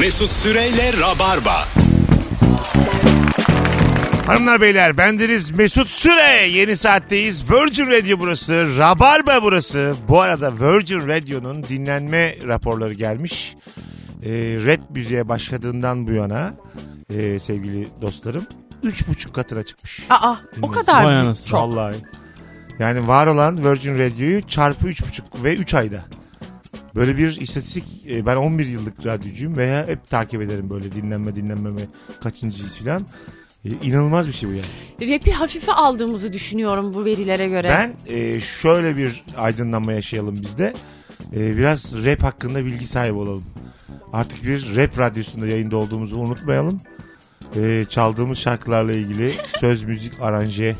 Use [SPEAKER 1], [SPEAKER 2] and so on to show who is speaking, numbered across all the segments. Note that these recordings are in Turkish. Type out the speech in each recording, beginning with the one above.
[SPEAKER 1] Mesut Süreyle Rabarba.
[SPEAKER 2] Hanımlar beyler bendeniz Mesut Süre yeni saatteyiz. Virgin Radio burası, Rabarba burası. Bu arada Virgin Radio'nun dinlenme raporları gelmiş. Ee, Red müziğe başladığından bu yana e, sevgili dostlarım 3,5 katına çıkmış.
[SPEAKER 3] Aa o
[SPEAKER 2] Dinliyoruz.
[SPEAKER 3] kadar
[SPEAKER 4] Vay
[SPEAKER 3] mı?
[SPEAKER 4] anasını.
[SPEAKER 3] çok.
[SPEAKER 2] Vallahi. Yani var olan Virgin Radio'yu çarpı 3,5 ve 3 ayda. Böyle bir istatistik e, ben 11 yıllık radyocuyum veya hep takip ederim böyle dinlenme dinlenmeme kaçıncıyız filan. E, İnanılmaz bir şey bu yani.
[SPEAKER 3] Rap'i hafife aldığımızı düşünüyorum bu verilere göre.
[SPEAKER 2] Ben e, şöyle bir aydınlanma yaşayalım bizde. biraz rap hakkında bilgi sahibi olalım. Artık bir rap radyosunda yayında olduğumuzu unutmayalım. E, çaldığımız şarkılarla ilgili söz, müzik, aranje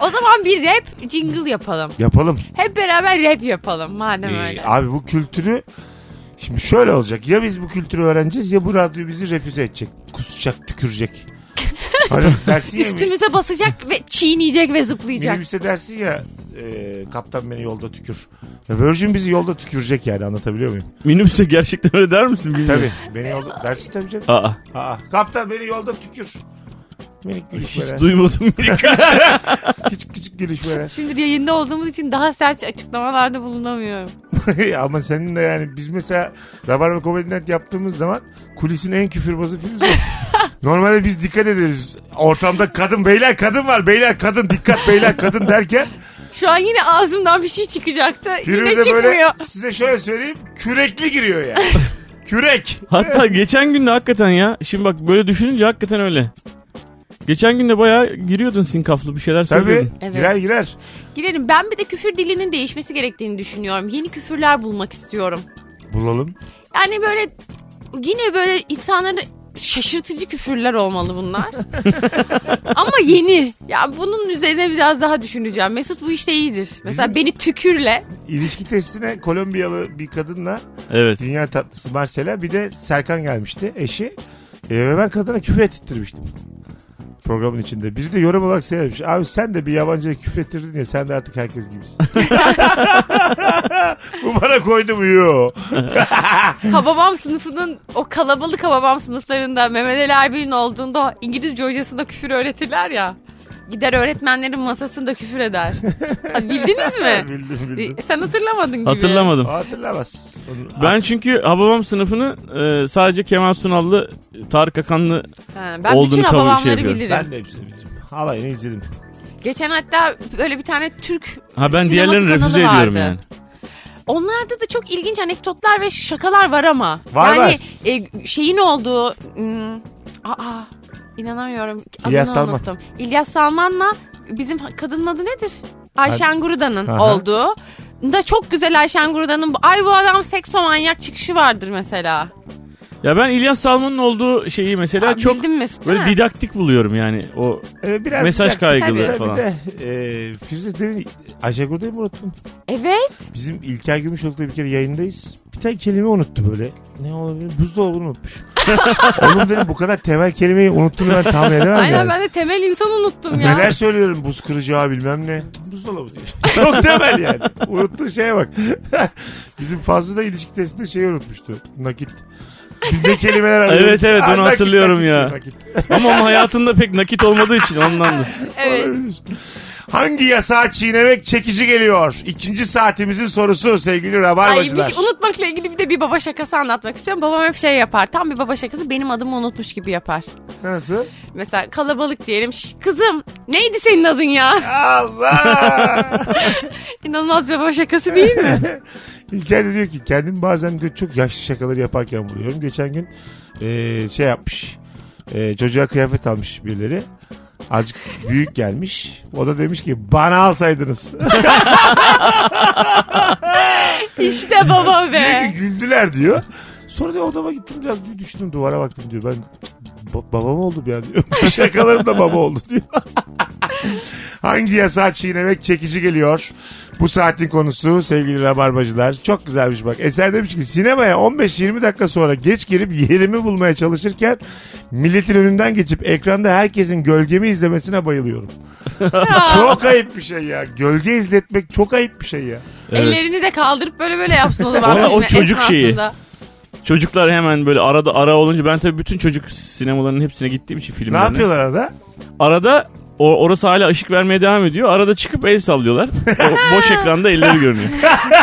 [SPEAKER 3] O zaman bir rap jingle yapalım.
[SPEAKER 2] yapalım.
[SPEAKER 3] Hep beraber rap yapalım madem
[SPEAKER 2] Ee,
[SPEAKER 3] öyle.
[SPEAKER 2] abi bu kültürü şimdi şöyle olacak. Ya biz bu kültürü öğreneceğiz ya bu radyo bizi refüze edecek. Kusacak, tükürecek. hani dersin ya
[SPEAKER 3] Üstümüze basacak ve çiğneyecek ve zıplayacak.
[SPEAKER 2] minibüste dersin ya e, kaptan beni yolda tükür. Virgin bizi yolda tükürecek yani anlatabiliyor muyum?
[SPEAKER 4] Minibüse gerçekten öyle der misin bilmiyorum.
[SPEAKER 2] Tabii beni yolda dersin tabii canım.
[SPEAKER 4] Aa,
[SPEAKER 2] Aa, kaptan beni yolda tükür. Minik gülüş
[SPEAKER 4] hiç
[SPEAKER 2] veren.
[SPEAKER 4] duymadım.
[SPEAKER 2] Küçük küçük gülüş veren.
[SPEAKER 3] Şimdi yayında olduğumuz için daha sert açıklamalarda bulunamıyorum.
[SPEAKER 2] Ama senin de yani biz mesela Rabarba Comedy Night yaptığımız zaman kulisin en küfürbazı filmi Normalde biz dikkat ederiz. Ortamda kadın beyler kadın var beyler kadın dikkat beyler kadın derken
[SPEAKER 3] Şu an yine ağzımdan bir şey çıkacaktı. yine
[SPEAKER 2] Firuze
[SPEAKER 3] çıkmıyor.
[SPEAKER 2] böyle size şöyle söyleyeyim kürekli giriyor yani. Kürek.
[SPEAKER 4] Hatta geçen gün de hakikaten ya. Şimdi bak böyle düşününce hakikaten öyle. Geçen gün de bayağı giriyordun sinkaflı bir şeyler
[SPEAKER 2] Tabii
[SPEAKER 4] söylüyordun.
[SPEAKER 3] Evet.
[SPEAKER 2] girer girer.
[SPEAKER 3] Girelim. Ben bir de küfür dilinin değişmesi gerektiğini düşünüyorum. Yeni küfürler bulmak istiyorum.
[SPEAKER 2] Bulalım.
[SPEAKER 3] Yani böyle yine böyle insanları şaşırtıcı küfürler olmalı bunlar. Ama yeni. Ya bunun üzerine biraz daha düşüneceğim. Mesut bu işte iyidir. Mesela
[SPEAKER 2] Bizim-
[SPEAKER 3] beni tükürle.
[SPEAKER 2] İlişki testine Kolombiyalı bir kadınla
[SPEAKER 4] Evet.
[SPEAKER 2] dünya tatlısı Marcela bir de Serkan gelmişti eşi. Ee, ve ben kadına küfür ettirmiştim. Programın içinde. Biri de yorum olarak söylemiş. Abi sen de bir yabancıya küfür ettirdin ya sen de artık herkes gibisin. Bu bana koydu mu yo.
[SPEAKER 3] Hababam sınıfının o kalabalık hababam sınıflarında Mehmet Ali Erbil'in olduğunda o İngilizce hocasına küfür öğretirler ya. Gider öğretmenlerin masasında küfür eder. Ha, bildiniz mi?
[SPEAKER 2] bildim bildim.
[SPEAKER 3] E, Sen hatırlamadın gibi.
[SPEAKER 4] Hatırlamadım.
[SPEAKER 2] O hatırlamaz. Onu-
[SPEAKER 4] Ben çünkü Hababam sınıfını e, sadece Kemal Sunal'lı, Tarık Akan'lı
[SPEAKER 3] Ha, ben
[SPEAKER 4] Olduğunu
[SPEAKER 3] bütün
[SPEAKER 4] kabul
[SPEAKER 3] hababamları
[SPEAKER 4] şey yapıyorum.
[SPEAKER 3] bilirim.
[SPEAKER 2] ben de hepsini bildim. Halayını izledim.
[SPEAKER 3] Geçen hatta böyle bir tane Türk
[SPEAKER 4] Ha ben
[SPEAKER 3] Sineması
[SPEAKER 4] diğerlerini
[SPEAKER 3] kanalı
[SPEAKER 4] refüze ediyorum
[SPEAKER 3] vardı.
[SPEAKER 4] yani.
[SPEAKER 3] Onlarda da çok ilginç anekdotlar ve şakalar var ama.
[SPEAKER 2] Var,
[SPEAKER 3] yani e, şeyin olduğu... hmm, aa inanamıyorum. Adını
[SPEAKER 2] İlyas Salman.
[SPEAKER 3] unuttum. İlyas Salman'la bizim ha- kadının adı nedir? Ayşen Guruda'nın
[SPEAKER 2] Aha.
[SPEAKER 3] olduğu. Da çok güzel Ayşen Guruda'nın bu- ay bu adam seksomanyak çıkışı vardır mesela.
[SPEAKER 4] Ya ben İlyas Salman'ın olduğu şeyi mesela
[SPEAKER 3] Aa,
[SPEAKER 4] çok
[SPEAKER 3] Bildin Mesut değil
[SPEAKER 4] böyle
[SPEAKER 3] mi?
[SPEAKER 4] didaktik buluyorum yani. O
[SPEAKER 2] Ee, biraz
[SPEAKER 4] Mesaj
[SPEAKER 2] bir dakika,
[SPEAKER 4] kaygıları
[SPEAKER 2] tabii,
[SPEAKER 4] falan.
[SPEAKER 2] Bir de e, Firuze demin Ayşe Gurdayı mı unuttun?
[SPEAKER 3] Evet.
[SPEAKER 2] Bizim İlker Gümüşoluk'ta bir kere yayındayız. Bir tane kelime unuttu böyle. Ne olabilir? Buzdolabını unutmuş. Oğlum dedim bu kadar temel kelimeyi unuttuğunu ben tahmin edemem
[SPEAKER 3] Aynen
[SPEAKER 2] yani.
[SPEAKER 3] ben de temel insan unuttum ya.
[SPEAKER 2] Neler söylüyorum buz kıracağı bilmem ne. Buzdolabı diyor. Çok temel yani. Unuttuğu şeye bak. Bizim fazla da ilişki testinde şey unutmuştu. Nakit. Biz ne kelimeler arıyoruz.
[SPEAKER 4] Evet, evet,
[SPEAKER 2] Ha,
[SPEAKER 4] onu
[SPEAKER 2] nakit,
[SPEAKER 4] hatırlıyorum
[SPEAKER 2] nakit,
[SPEAKER 4] ya.
[SPEAKER 2] nakit.
[SPEAKER 4] ama onun hayatında pek nakit olmadığı için ondan.
[SPEAKER 3] evet.
[SPEAKER 2] Olabilir. Hangi yasağı çiğnemek çekici geliyor? İkinci saatimizin sorusu sevgili
[SPEAKER 3] Ay bir
[SPEAKER 2] rabarbacılar.
[SPEAKER 3] şey, unutmakla ilgili bir de bir baba şakası anlatmak istiyorum. Babam hep şey yapar. Tam bir baba şakası benim adımı unutmuş gibi yapar.
[SPEAKER 2] Nasıl?
[SPEAKER 3] Mesela kalabalık diyelim. "Şş, kızım neydi senin adın ya?
[SPEAKER 2] Allah!
[SPEAKER 3] İnanılmaz bir baba şakası değil mi?
[SPEAKER 2] İlker de diyor ki kendim bazen diyor çok yaşlı şakaları yaparken buluyorum. Geçen gün eee, şey yapmış. Eee, çocuğa kıyafet almış birileri. Azıcık büyük gelmiş. O da demiş ki bana alsaydınız.
[SPEAKER 3] işte baba be.
[SPEAKER 2] Çünkü güldüler diyor. Sonra diyor odama gittim biraz diyor, düştüm duvara baktım diyor. Ben ba- babam oldu bir an diyor. Şakalarım da baba oldu diyor. Hangi yasağı çiğnemek çekici geliyor? Bu saatin konusu sevgili rabarbacılar. Çok güzelmiş bak. Eser demiş ki sinemaya 15-20 dakika sonra geç girip yerimi bulmaya çalışırken milletin önünden geçip ekranda herkesin gölgemi izlemesine bayılıyorum. çok ayıp bir şey ya. Gölge izletmek çok ayıp bir şey ya.
[SPEAKER 4] Evet.
[SPEAKER 3] Ellerini de kaldırıp böyle böyle yapsın o zaman.
[SPEAKER 4] Ona o
[SPEAKER 3] filmin
[SPEAKER 4] çocuk şeyi.
[SPEAKER 3] esnasında.
[SPEAKER 4] Çocuklar hemen böyle arada ara olunca ben tabii bütün çocuk sinemalarının hepsine gittiğim için
[SPEAKER 2] Ne
[SPEAKER 4] filmlerine.
[SPEAKER 2] yapıyorlar arada?
[SPEAKER 4] Arada o- orası hala ışık vermeye devam ediyor. Arada çıkıp el sallıyorlar. O boş ekranda elleri görünüyor.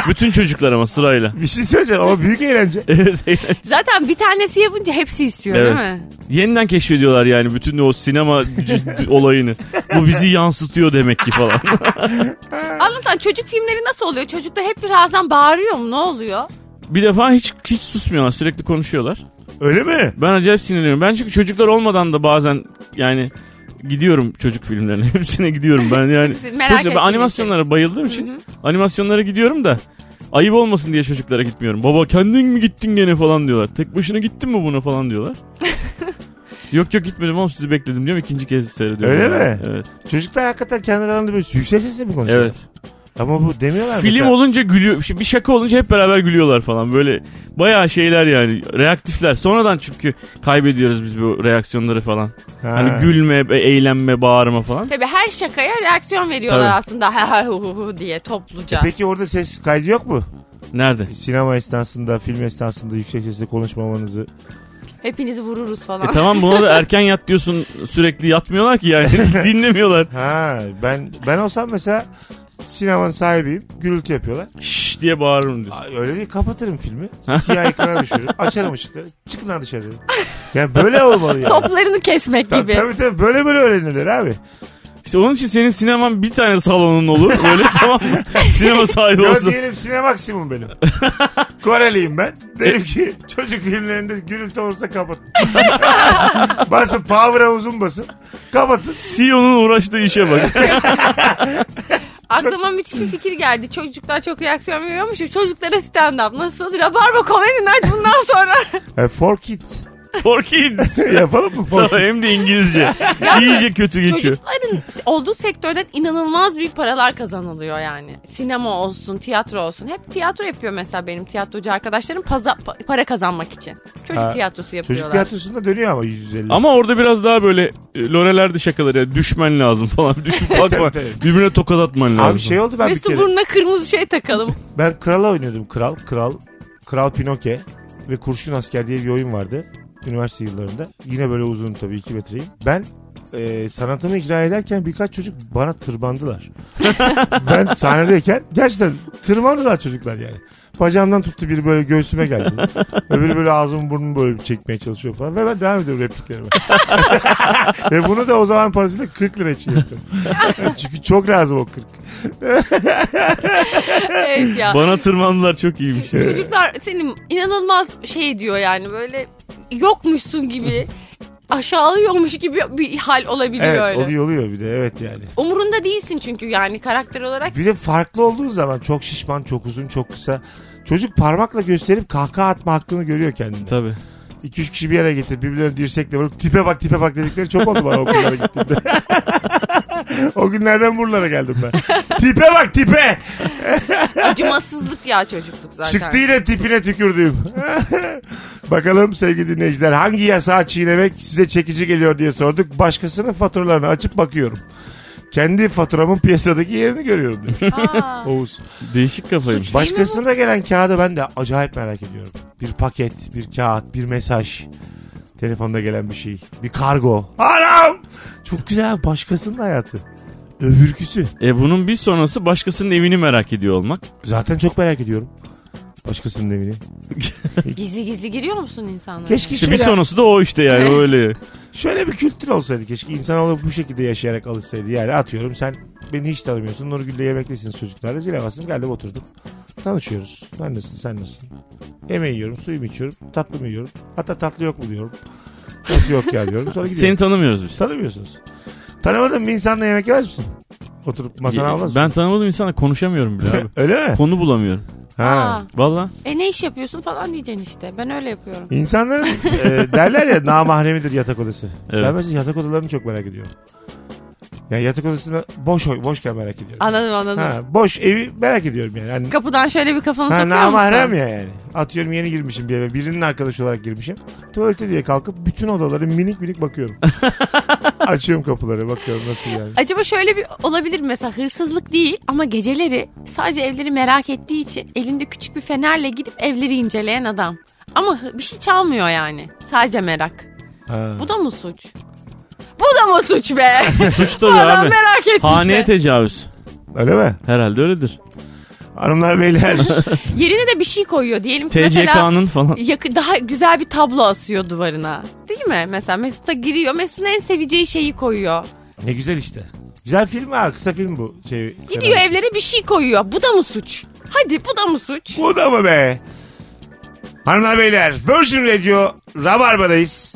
[SPEAKER 4] Bütün çocuklar ama sırayla.
[SPEAKER 2] Bir şey söyleyeceğim ama büyük eğlence.
[SPEAKER 4] Evet, evet.
[SPEAKER 3] Zaten bir tanesi yapınca hepsi istiyor
[SPEAKER 4] Evet.
[SPEAKER 3] değil mi?
[SPEAKER 4] Yeniden keşfediyorlar yani bütün o sinema c- olayını. Bu bizi yansıtıyor demek ki falan.
[SPEAKER 3] Anlatan çocuk filmleri nasıl oluyor? Çocuklar hep birazdan bağırıyor mu? Ne oluyor?
[SPEAKER 4] bir defa hiç hiç susmuyorlar. Sürekli konuşuyorlar.
[SPEAKER 2] Öyle mi?
[SPEAKER 4] Ben acayip sinirleniyorum. Ben çünkü çocuklar olmadan da bazen yani gidiyorum çocuk filmlerine. Hepsine gidiyorum ben yani.
[SPEAKER 3] Hepsi merak
[SPEAKER 4] Çok- ben
[SPEAKER 3] ettiğim
[SPEAKER 4] animasyonlara bayıldığım için animasyonlara gidiyorum da ayıp olmasın diye çocuklara gitmiyorum. Baba kendin mi gittin gene falan diyorlar. Tek başına gittin mi buna falan diyorlar. yok yok gitmedim oğlum sizi bekledim diyorum ikinci kez seyrediyorum.
[SPEAKER 2] Öyle
[SPEAKER 4] Yani.
[SPEAKER 2] mi?
[SPEAKER 4] Evet.
[SPEAKER 2] Çocuklar hakikaten kendi aralarında böyle yüksek sesle mi konuşuyor?
[SPEAKER 4] Evet.
[SPEAKER 2] Ama bu demiyorlar
[SPEAKER 4] Film
[SPEAKER 2] mesela.
[SPEAKER 4] olunca gülüyor. Şimdi bir şaka olunca hep beraber gülüyorlar falan. Böyle bayağı şeyler yani reaktifler. Sonradan çünkü kaybediyoruz biz bu reaksiyonları falan.
[SPEAKER 2] Ha.
[SPEAKER 4] Hani gülme, e- eğlenme, bağırma falan.
[SPEAKER 3] Tabii her şakaya reaksiyon veriyorlar
[SPEAKER 4] Tabii. E
[SPEAKER 3] aslında. Ha ha hu hu hu diye topluca.
[SPEAKER 2] Peki orada ses kaydı yok mu?
[SPEAKER 4] Nerede?
[SPEAKER 2] Sinema esnasında, film esnasında yüksek sesle konuşmamanızı.
[SPEAKER 3] Hepinizi vururuz falan.
[SPEAKER 4] E tamam buna da erken yat diyorsun sürekli yatmıyorlar ki yani dinlemiyorlar.
[SPEAKER 2] Ha ben ben olsam mesela sinemanın sahibiyim. Gürültü yapıyorlar.
[SPEAKER 4] Şşş diye bağırırım diyor.
[SPEAKER 2] Ay, Öyle değil kapatırım filmi. Siyah ekrana düşürürüm. Açarım ışıkları. Çıkın lan dışarı derim. Yani böyle olmalı yani.
[SPEAKER 3] Toplarını kesmek
[SPEAKER 2] Ta-
[SPEAKER 3] gibi.
[SPEAKER 2] Tabii tabii böyle böyle öğrenilir abi.
[SPEAKER 4] İşte onun için senin sineman bir tane salonun olur. Öyle tamam mı? Sinema sahibi
[SPEAKER 2] Yo
[SPEAKER 4] olsun.
[SPEAKER 2] diyelim sinemaksimum benim. Koreliyim ben. Derim ki çocuk filmlerinde gürültü olursa kapatın. basın power'a uzun basın. Kapatın.
[SPEAKER 4] CEO'nun E uğraştığı işe bak.
[SPEAKER 3] Aklıma müthiş bir fikir geldi. Çocuklar çok reaksiyon veriyormuş. ya, Çocuklara stand-up nasıl? Rabarba Comedy Night bundan sonra.
[SPEAKER 2] E, for kids.
[SPEAKER 4] For kids.
[SPEAKER 2] Yapalım mı for
[SPEAKER 4] Tamam,
[SPEAKER 2] kids?
[SPEAKER 4] hem de İngilizce. İyice kötü geçiyor.
[SPEAKER 3] Çocukların olduğu sektörden inanılmaz büyük paralar kazanılıyor yani. Sinema olsun, tiyatro olsun. Hep tiyatro yapıyor mesela benim tiyatrocu arkadaşlarım paza, pa- para kazanmak için. Çocuk
[SPEAKER 2] Ha,
[SPEAKER 3] tiyatrosu yapıyorlar.
[SPEAKER 2] Çocuk tiyatrosunda dönüyor ama 150.
[SPEAKER 4] Ama orada biraz daha böyle e, Lorelerde şakaları yani düşmen lazım falan. Düşüp bakma.
[SPEAKER 2] Tabii, tabii.
[SPEAKER 4] Birbirine tokat atman lazım.
[SPEAKER 2] Abi şey oldu ben bir
[SPEAKER 3] Mesut
[SPEAKER 2] kere.
[SPEAKER 3] burnuna kırmızı şey takalım.
[SPEAKER 2] Ben krala oynuyordum. Kral, kral, kral Pinoke ve kurşun asker diye bir oyun vardı. Üniversite yıllarında. Yine böyle uzun tabii 2 metreyim. Ben e, sanatımı icra ederken birkaç çocuk bana tırbandılar. ben sahnedeyken gerçekten tırmandılar çocuklar yani. Bacağımdan tuttu biri böyle göğsüme geldi. Öbürü böyle ağzımı burnumu böyle bir çekmeye çalışıyor falan. Ve ben devam ediyorum repliklerime. ve bunu da o zaman parasıyla 40 lira için yaptım. Çünkü çok lazım o 40.
[SPEAKER 3] evet ya.
[SPEAKER 4] Bana tırmandılar çok iyiymiş. ya.
[SPEAKER 3] Çocuklar senin inanılmaz şey diyor yani böyle yokmuşsun gibi aşağılıyormuş gibi bir hal olabiliyor
[SPEAKER 2] Evet
[SPEAKER 3] öyle.
[SPEAKER 2] oluyor oluyor bir de evet yani.
[SPEAKER 3] Umurunda değilsin çünkü yani karakter olarak.
[SPEAKER 2] Bir de farklı olduğu zaman çok şişman, çok uzun, çok kısa. Çocuk parmakla gösterip kahkaha atma hakkını görüyor kendinde.
[SPEAKER 4] Tabii.
[SPEAKER 2] 2-3 kişi bir yere getir birbirlerini dirsekle vurup tipe bak tipe bak dedikleri çok oldu bana okullara gittiğimde. o günlerden buralara geldim ben. tipe bak tipe.
[SPEAKER 3] Acımasızlık ya çocukluk zaten.
[SPEAKER 2] Çıktı yine tipine tükürdüğüm. Bakalım sevgili dinleyiciler hangi yasağı çiğnemek size çekici geliyor diye sorduk. Başkasının faturalarını açıp bakıyorum. Kendi faturamın piyasadaki yerini görüyorum demiş
[SPEAKER 3] Aa.
[SPEAKER 2] Oğuz.
[SPEAKER 4] Değişik kafaymış.
[SPEAKER 3] Değil mi
[SPEAKER 2] Başkasına gelen kağıdı ben de acayip merak ediyorum. Bir paket, bir kağıt, bir mesaj. Telefonda gelen bir şey. Bir kargo. Anam! Çok güzel başkasının hayatı. Öbürküsü.
[SPEAKER 4] E bunun bir sonrası başkasının evini merak ediyor olmak.
[SPEAKER 2] Zaten çok merak ediyorum. Başkasının evini.
[SPEAKER 3] Gizli gizli giriyor musun insanlara?
[SPEAKER 2] Keşke
[SPEAKER 4] İşte
[SPEAKER 2] şöyle,
[SPEAKER 4] bir sonrası da o işte yani öyle.
[SPEAKER 2] şöyle bir kültür olsaydı. Keşke insanoğlu bu şekilde yaşayarak alışsaydı. Yani atıyorum sen beni hiç tanımıyorsun. Nurgül'le yemektesiniz çocuklarla. Zile bastım geldim oturdum. Tanışıyoruz. Ben nasılsın sen nasılsın? Yemeği yiyorum, suyumu içiyorum, tatlımı yiyorum. Hatta tatlı yok mu diyorum. Nasıl yok ya diyorum. Sonra gidiyorum.
[SPEAKER 4] Seni tanımıyoruz biz.
[SPEAKER 2] Tanımıyorsunuz. Tanımadığın bir insanla yemek yemez misin? Oturup masana almaz mısın?
[SPEAKER 4] ben tanımadığım insanla konuşamıyorum bile abi.
[SPEAKER 2] Öyle mi?
[SPEAKER 4] Konu bulamıyorum.
[SPEAKER 2] Ha.
[SPEAKER 3] Aa,
[SPEAKER 4] Valla.
[SPEAKER 3] e ne iş yapıyorsun falan diyeceksin işte. Ben öyle yapıyorum.
[SPEAKER 2] İnsanların e, derler ya namahremidir yatak odası.
[SPEAKER 4] Evet.
[SPEAKER 2] Ben mesela yatak odalarını çok merak ediyorum. Yani yatak odasını boş boşken merak ediyorum.
[SPEAKER 3] Anladım anladım.
[SPEAKER 2] Ha, boş evi merak ediyorum yani. Hani,
[SPEAKER 3] Kapıdan şöyle bir kafanı
[SPEAKER 2] ha,
[SPEAKER 3] sokuyor musun?
[SPEAKER 2] namahrem ya yani. Atıyorum yeni girmişim bir eve. Birinin arkadaşı olarak girmişim. Tuvalete diye kalkıp bütün odaları minik minik bakıyorum. Açıyorum kapıları bakıyorum nasıl yani.
[SPEAKER 3] Acaba şöyle bir olabilir mi? mesela hırsızlık değil ama geceleri sadece evleri merak ettiği için elinde küçük bir fenerle gidip evleri inceleyen adam. Ama hı- bir şey çalmıyor yani. Sadece merak.
[SPEAKER 2] Ha.
[SPEAKER 3] Bu da mı suç? Bu da mı suç be?
[SPEAKER 4] Suç tabii
[SPEAKER 3] Adam
[SPEAKER 4] abi.
[SPEAKER 3] merak etmiş
[SPEAKER 4] Haneye
[SPEAKER 3] be.
[SPEAKER 4] tecavüz.
[SPEAKER 2] Öyle mi?
[SPEAKER 4] Herhalde öyledir.
[SPEAKER 2] Hanımlar beyler.
[SPEAKER 3] Yerine de bir şey koyuyor. Diyelim ki mesela
[SPEAKER 4] TCK'nın falan.
[SPEAKER 3] yakı- daha güzel bir tablo asıyor duvarına. Değil mi? Mesela Mesut'a giriyor. Mesut'un en seveceği şeyi koyuyor.
[SPEAKER 2] ne güzel işte. Güzel film ha kısa film bu. Şey,
[SPEAKER 3] Gidiyor evlere bir şey koyuyor. Bu da mı suç? Hadi bu da mı suç?
[SPEAKER 2] Bu da mı be? Hanımlar beyler Virgin Radio Rabarba'dayız.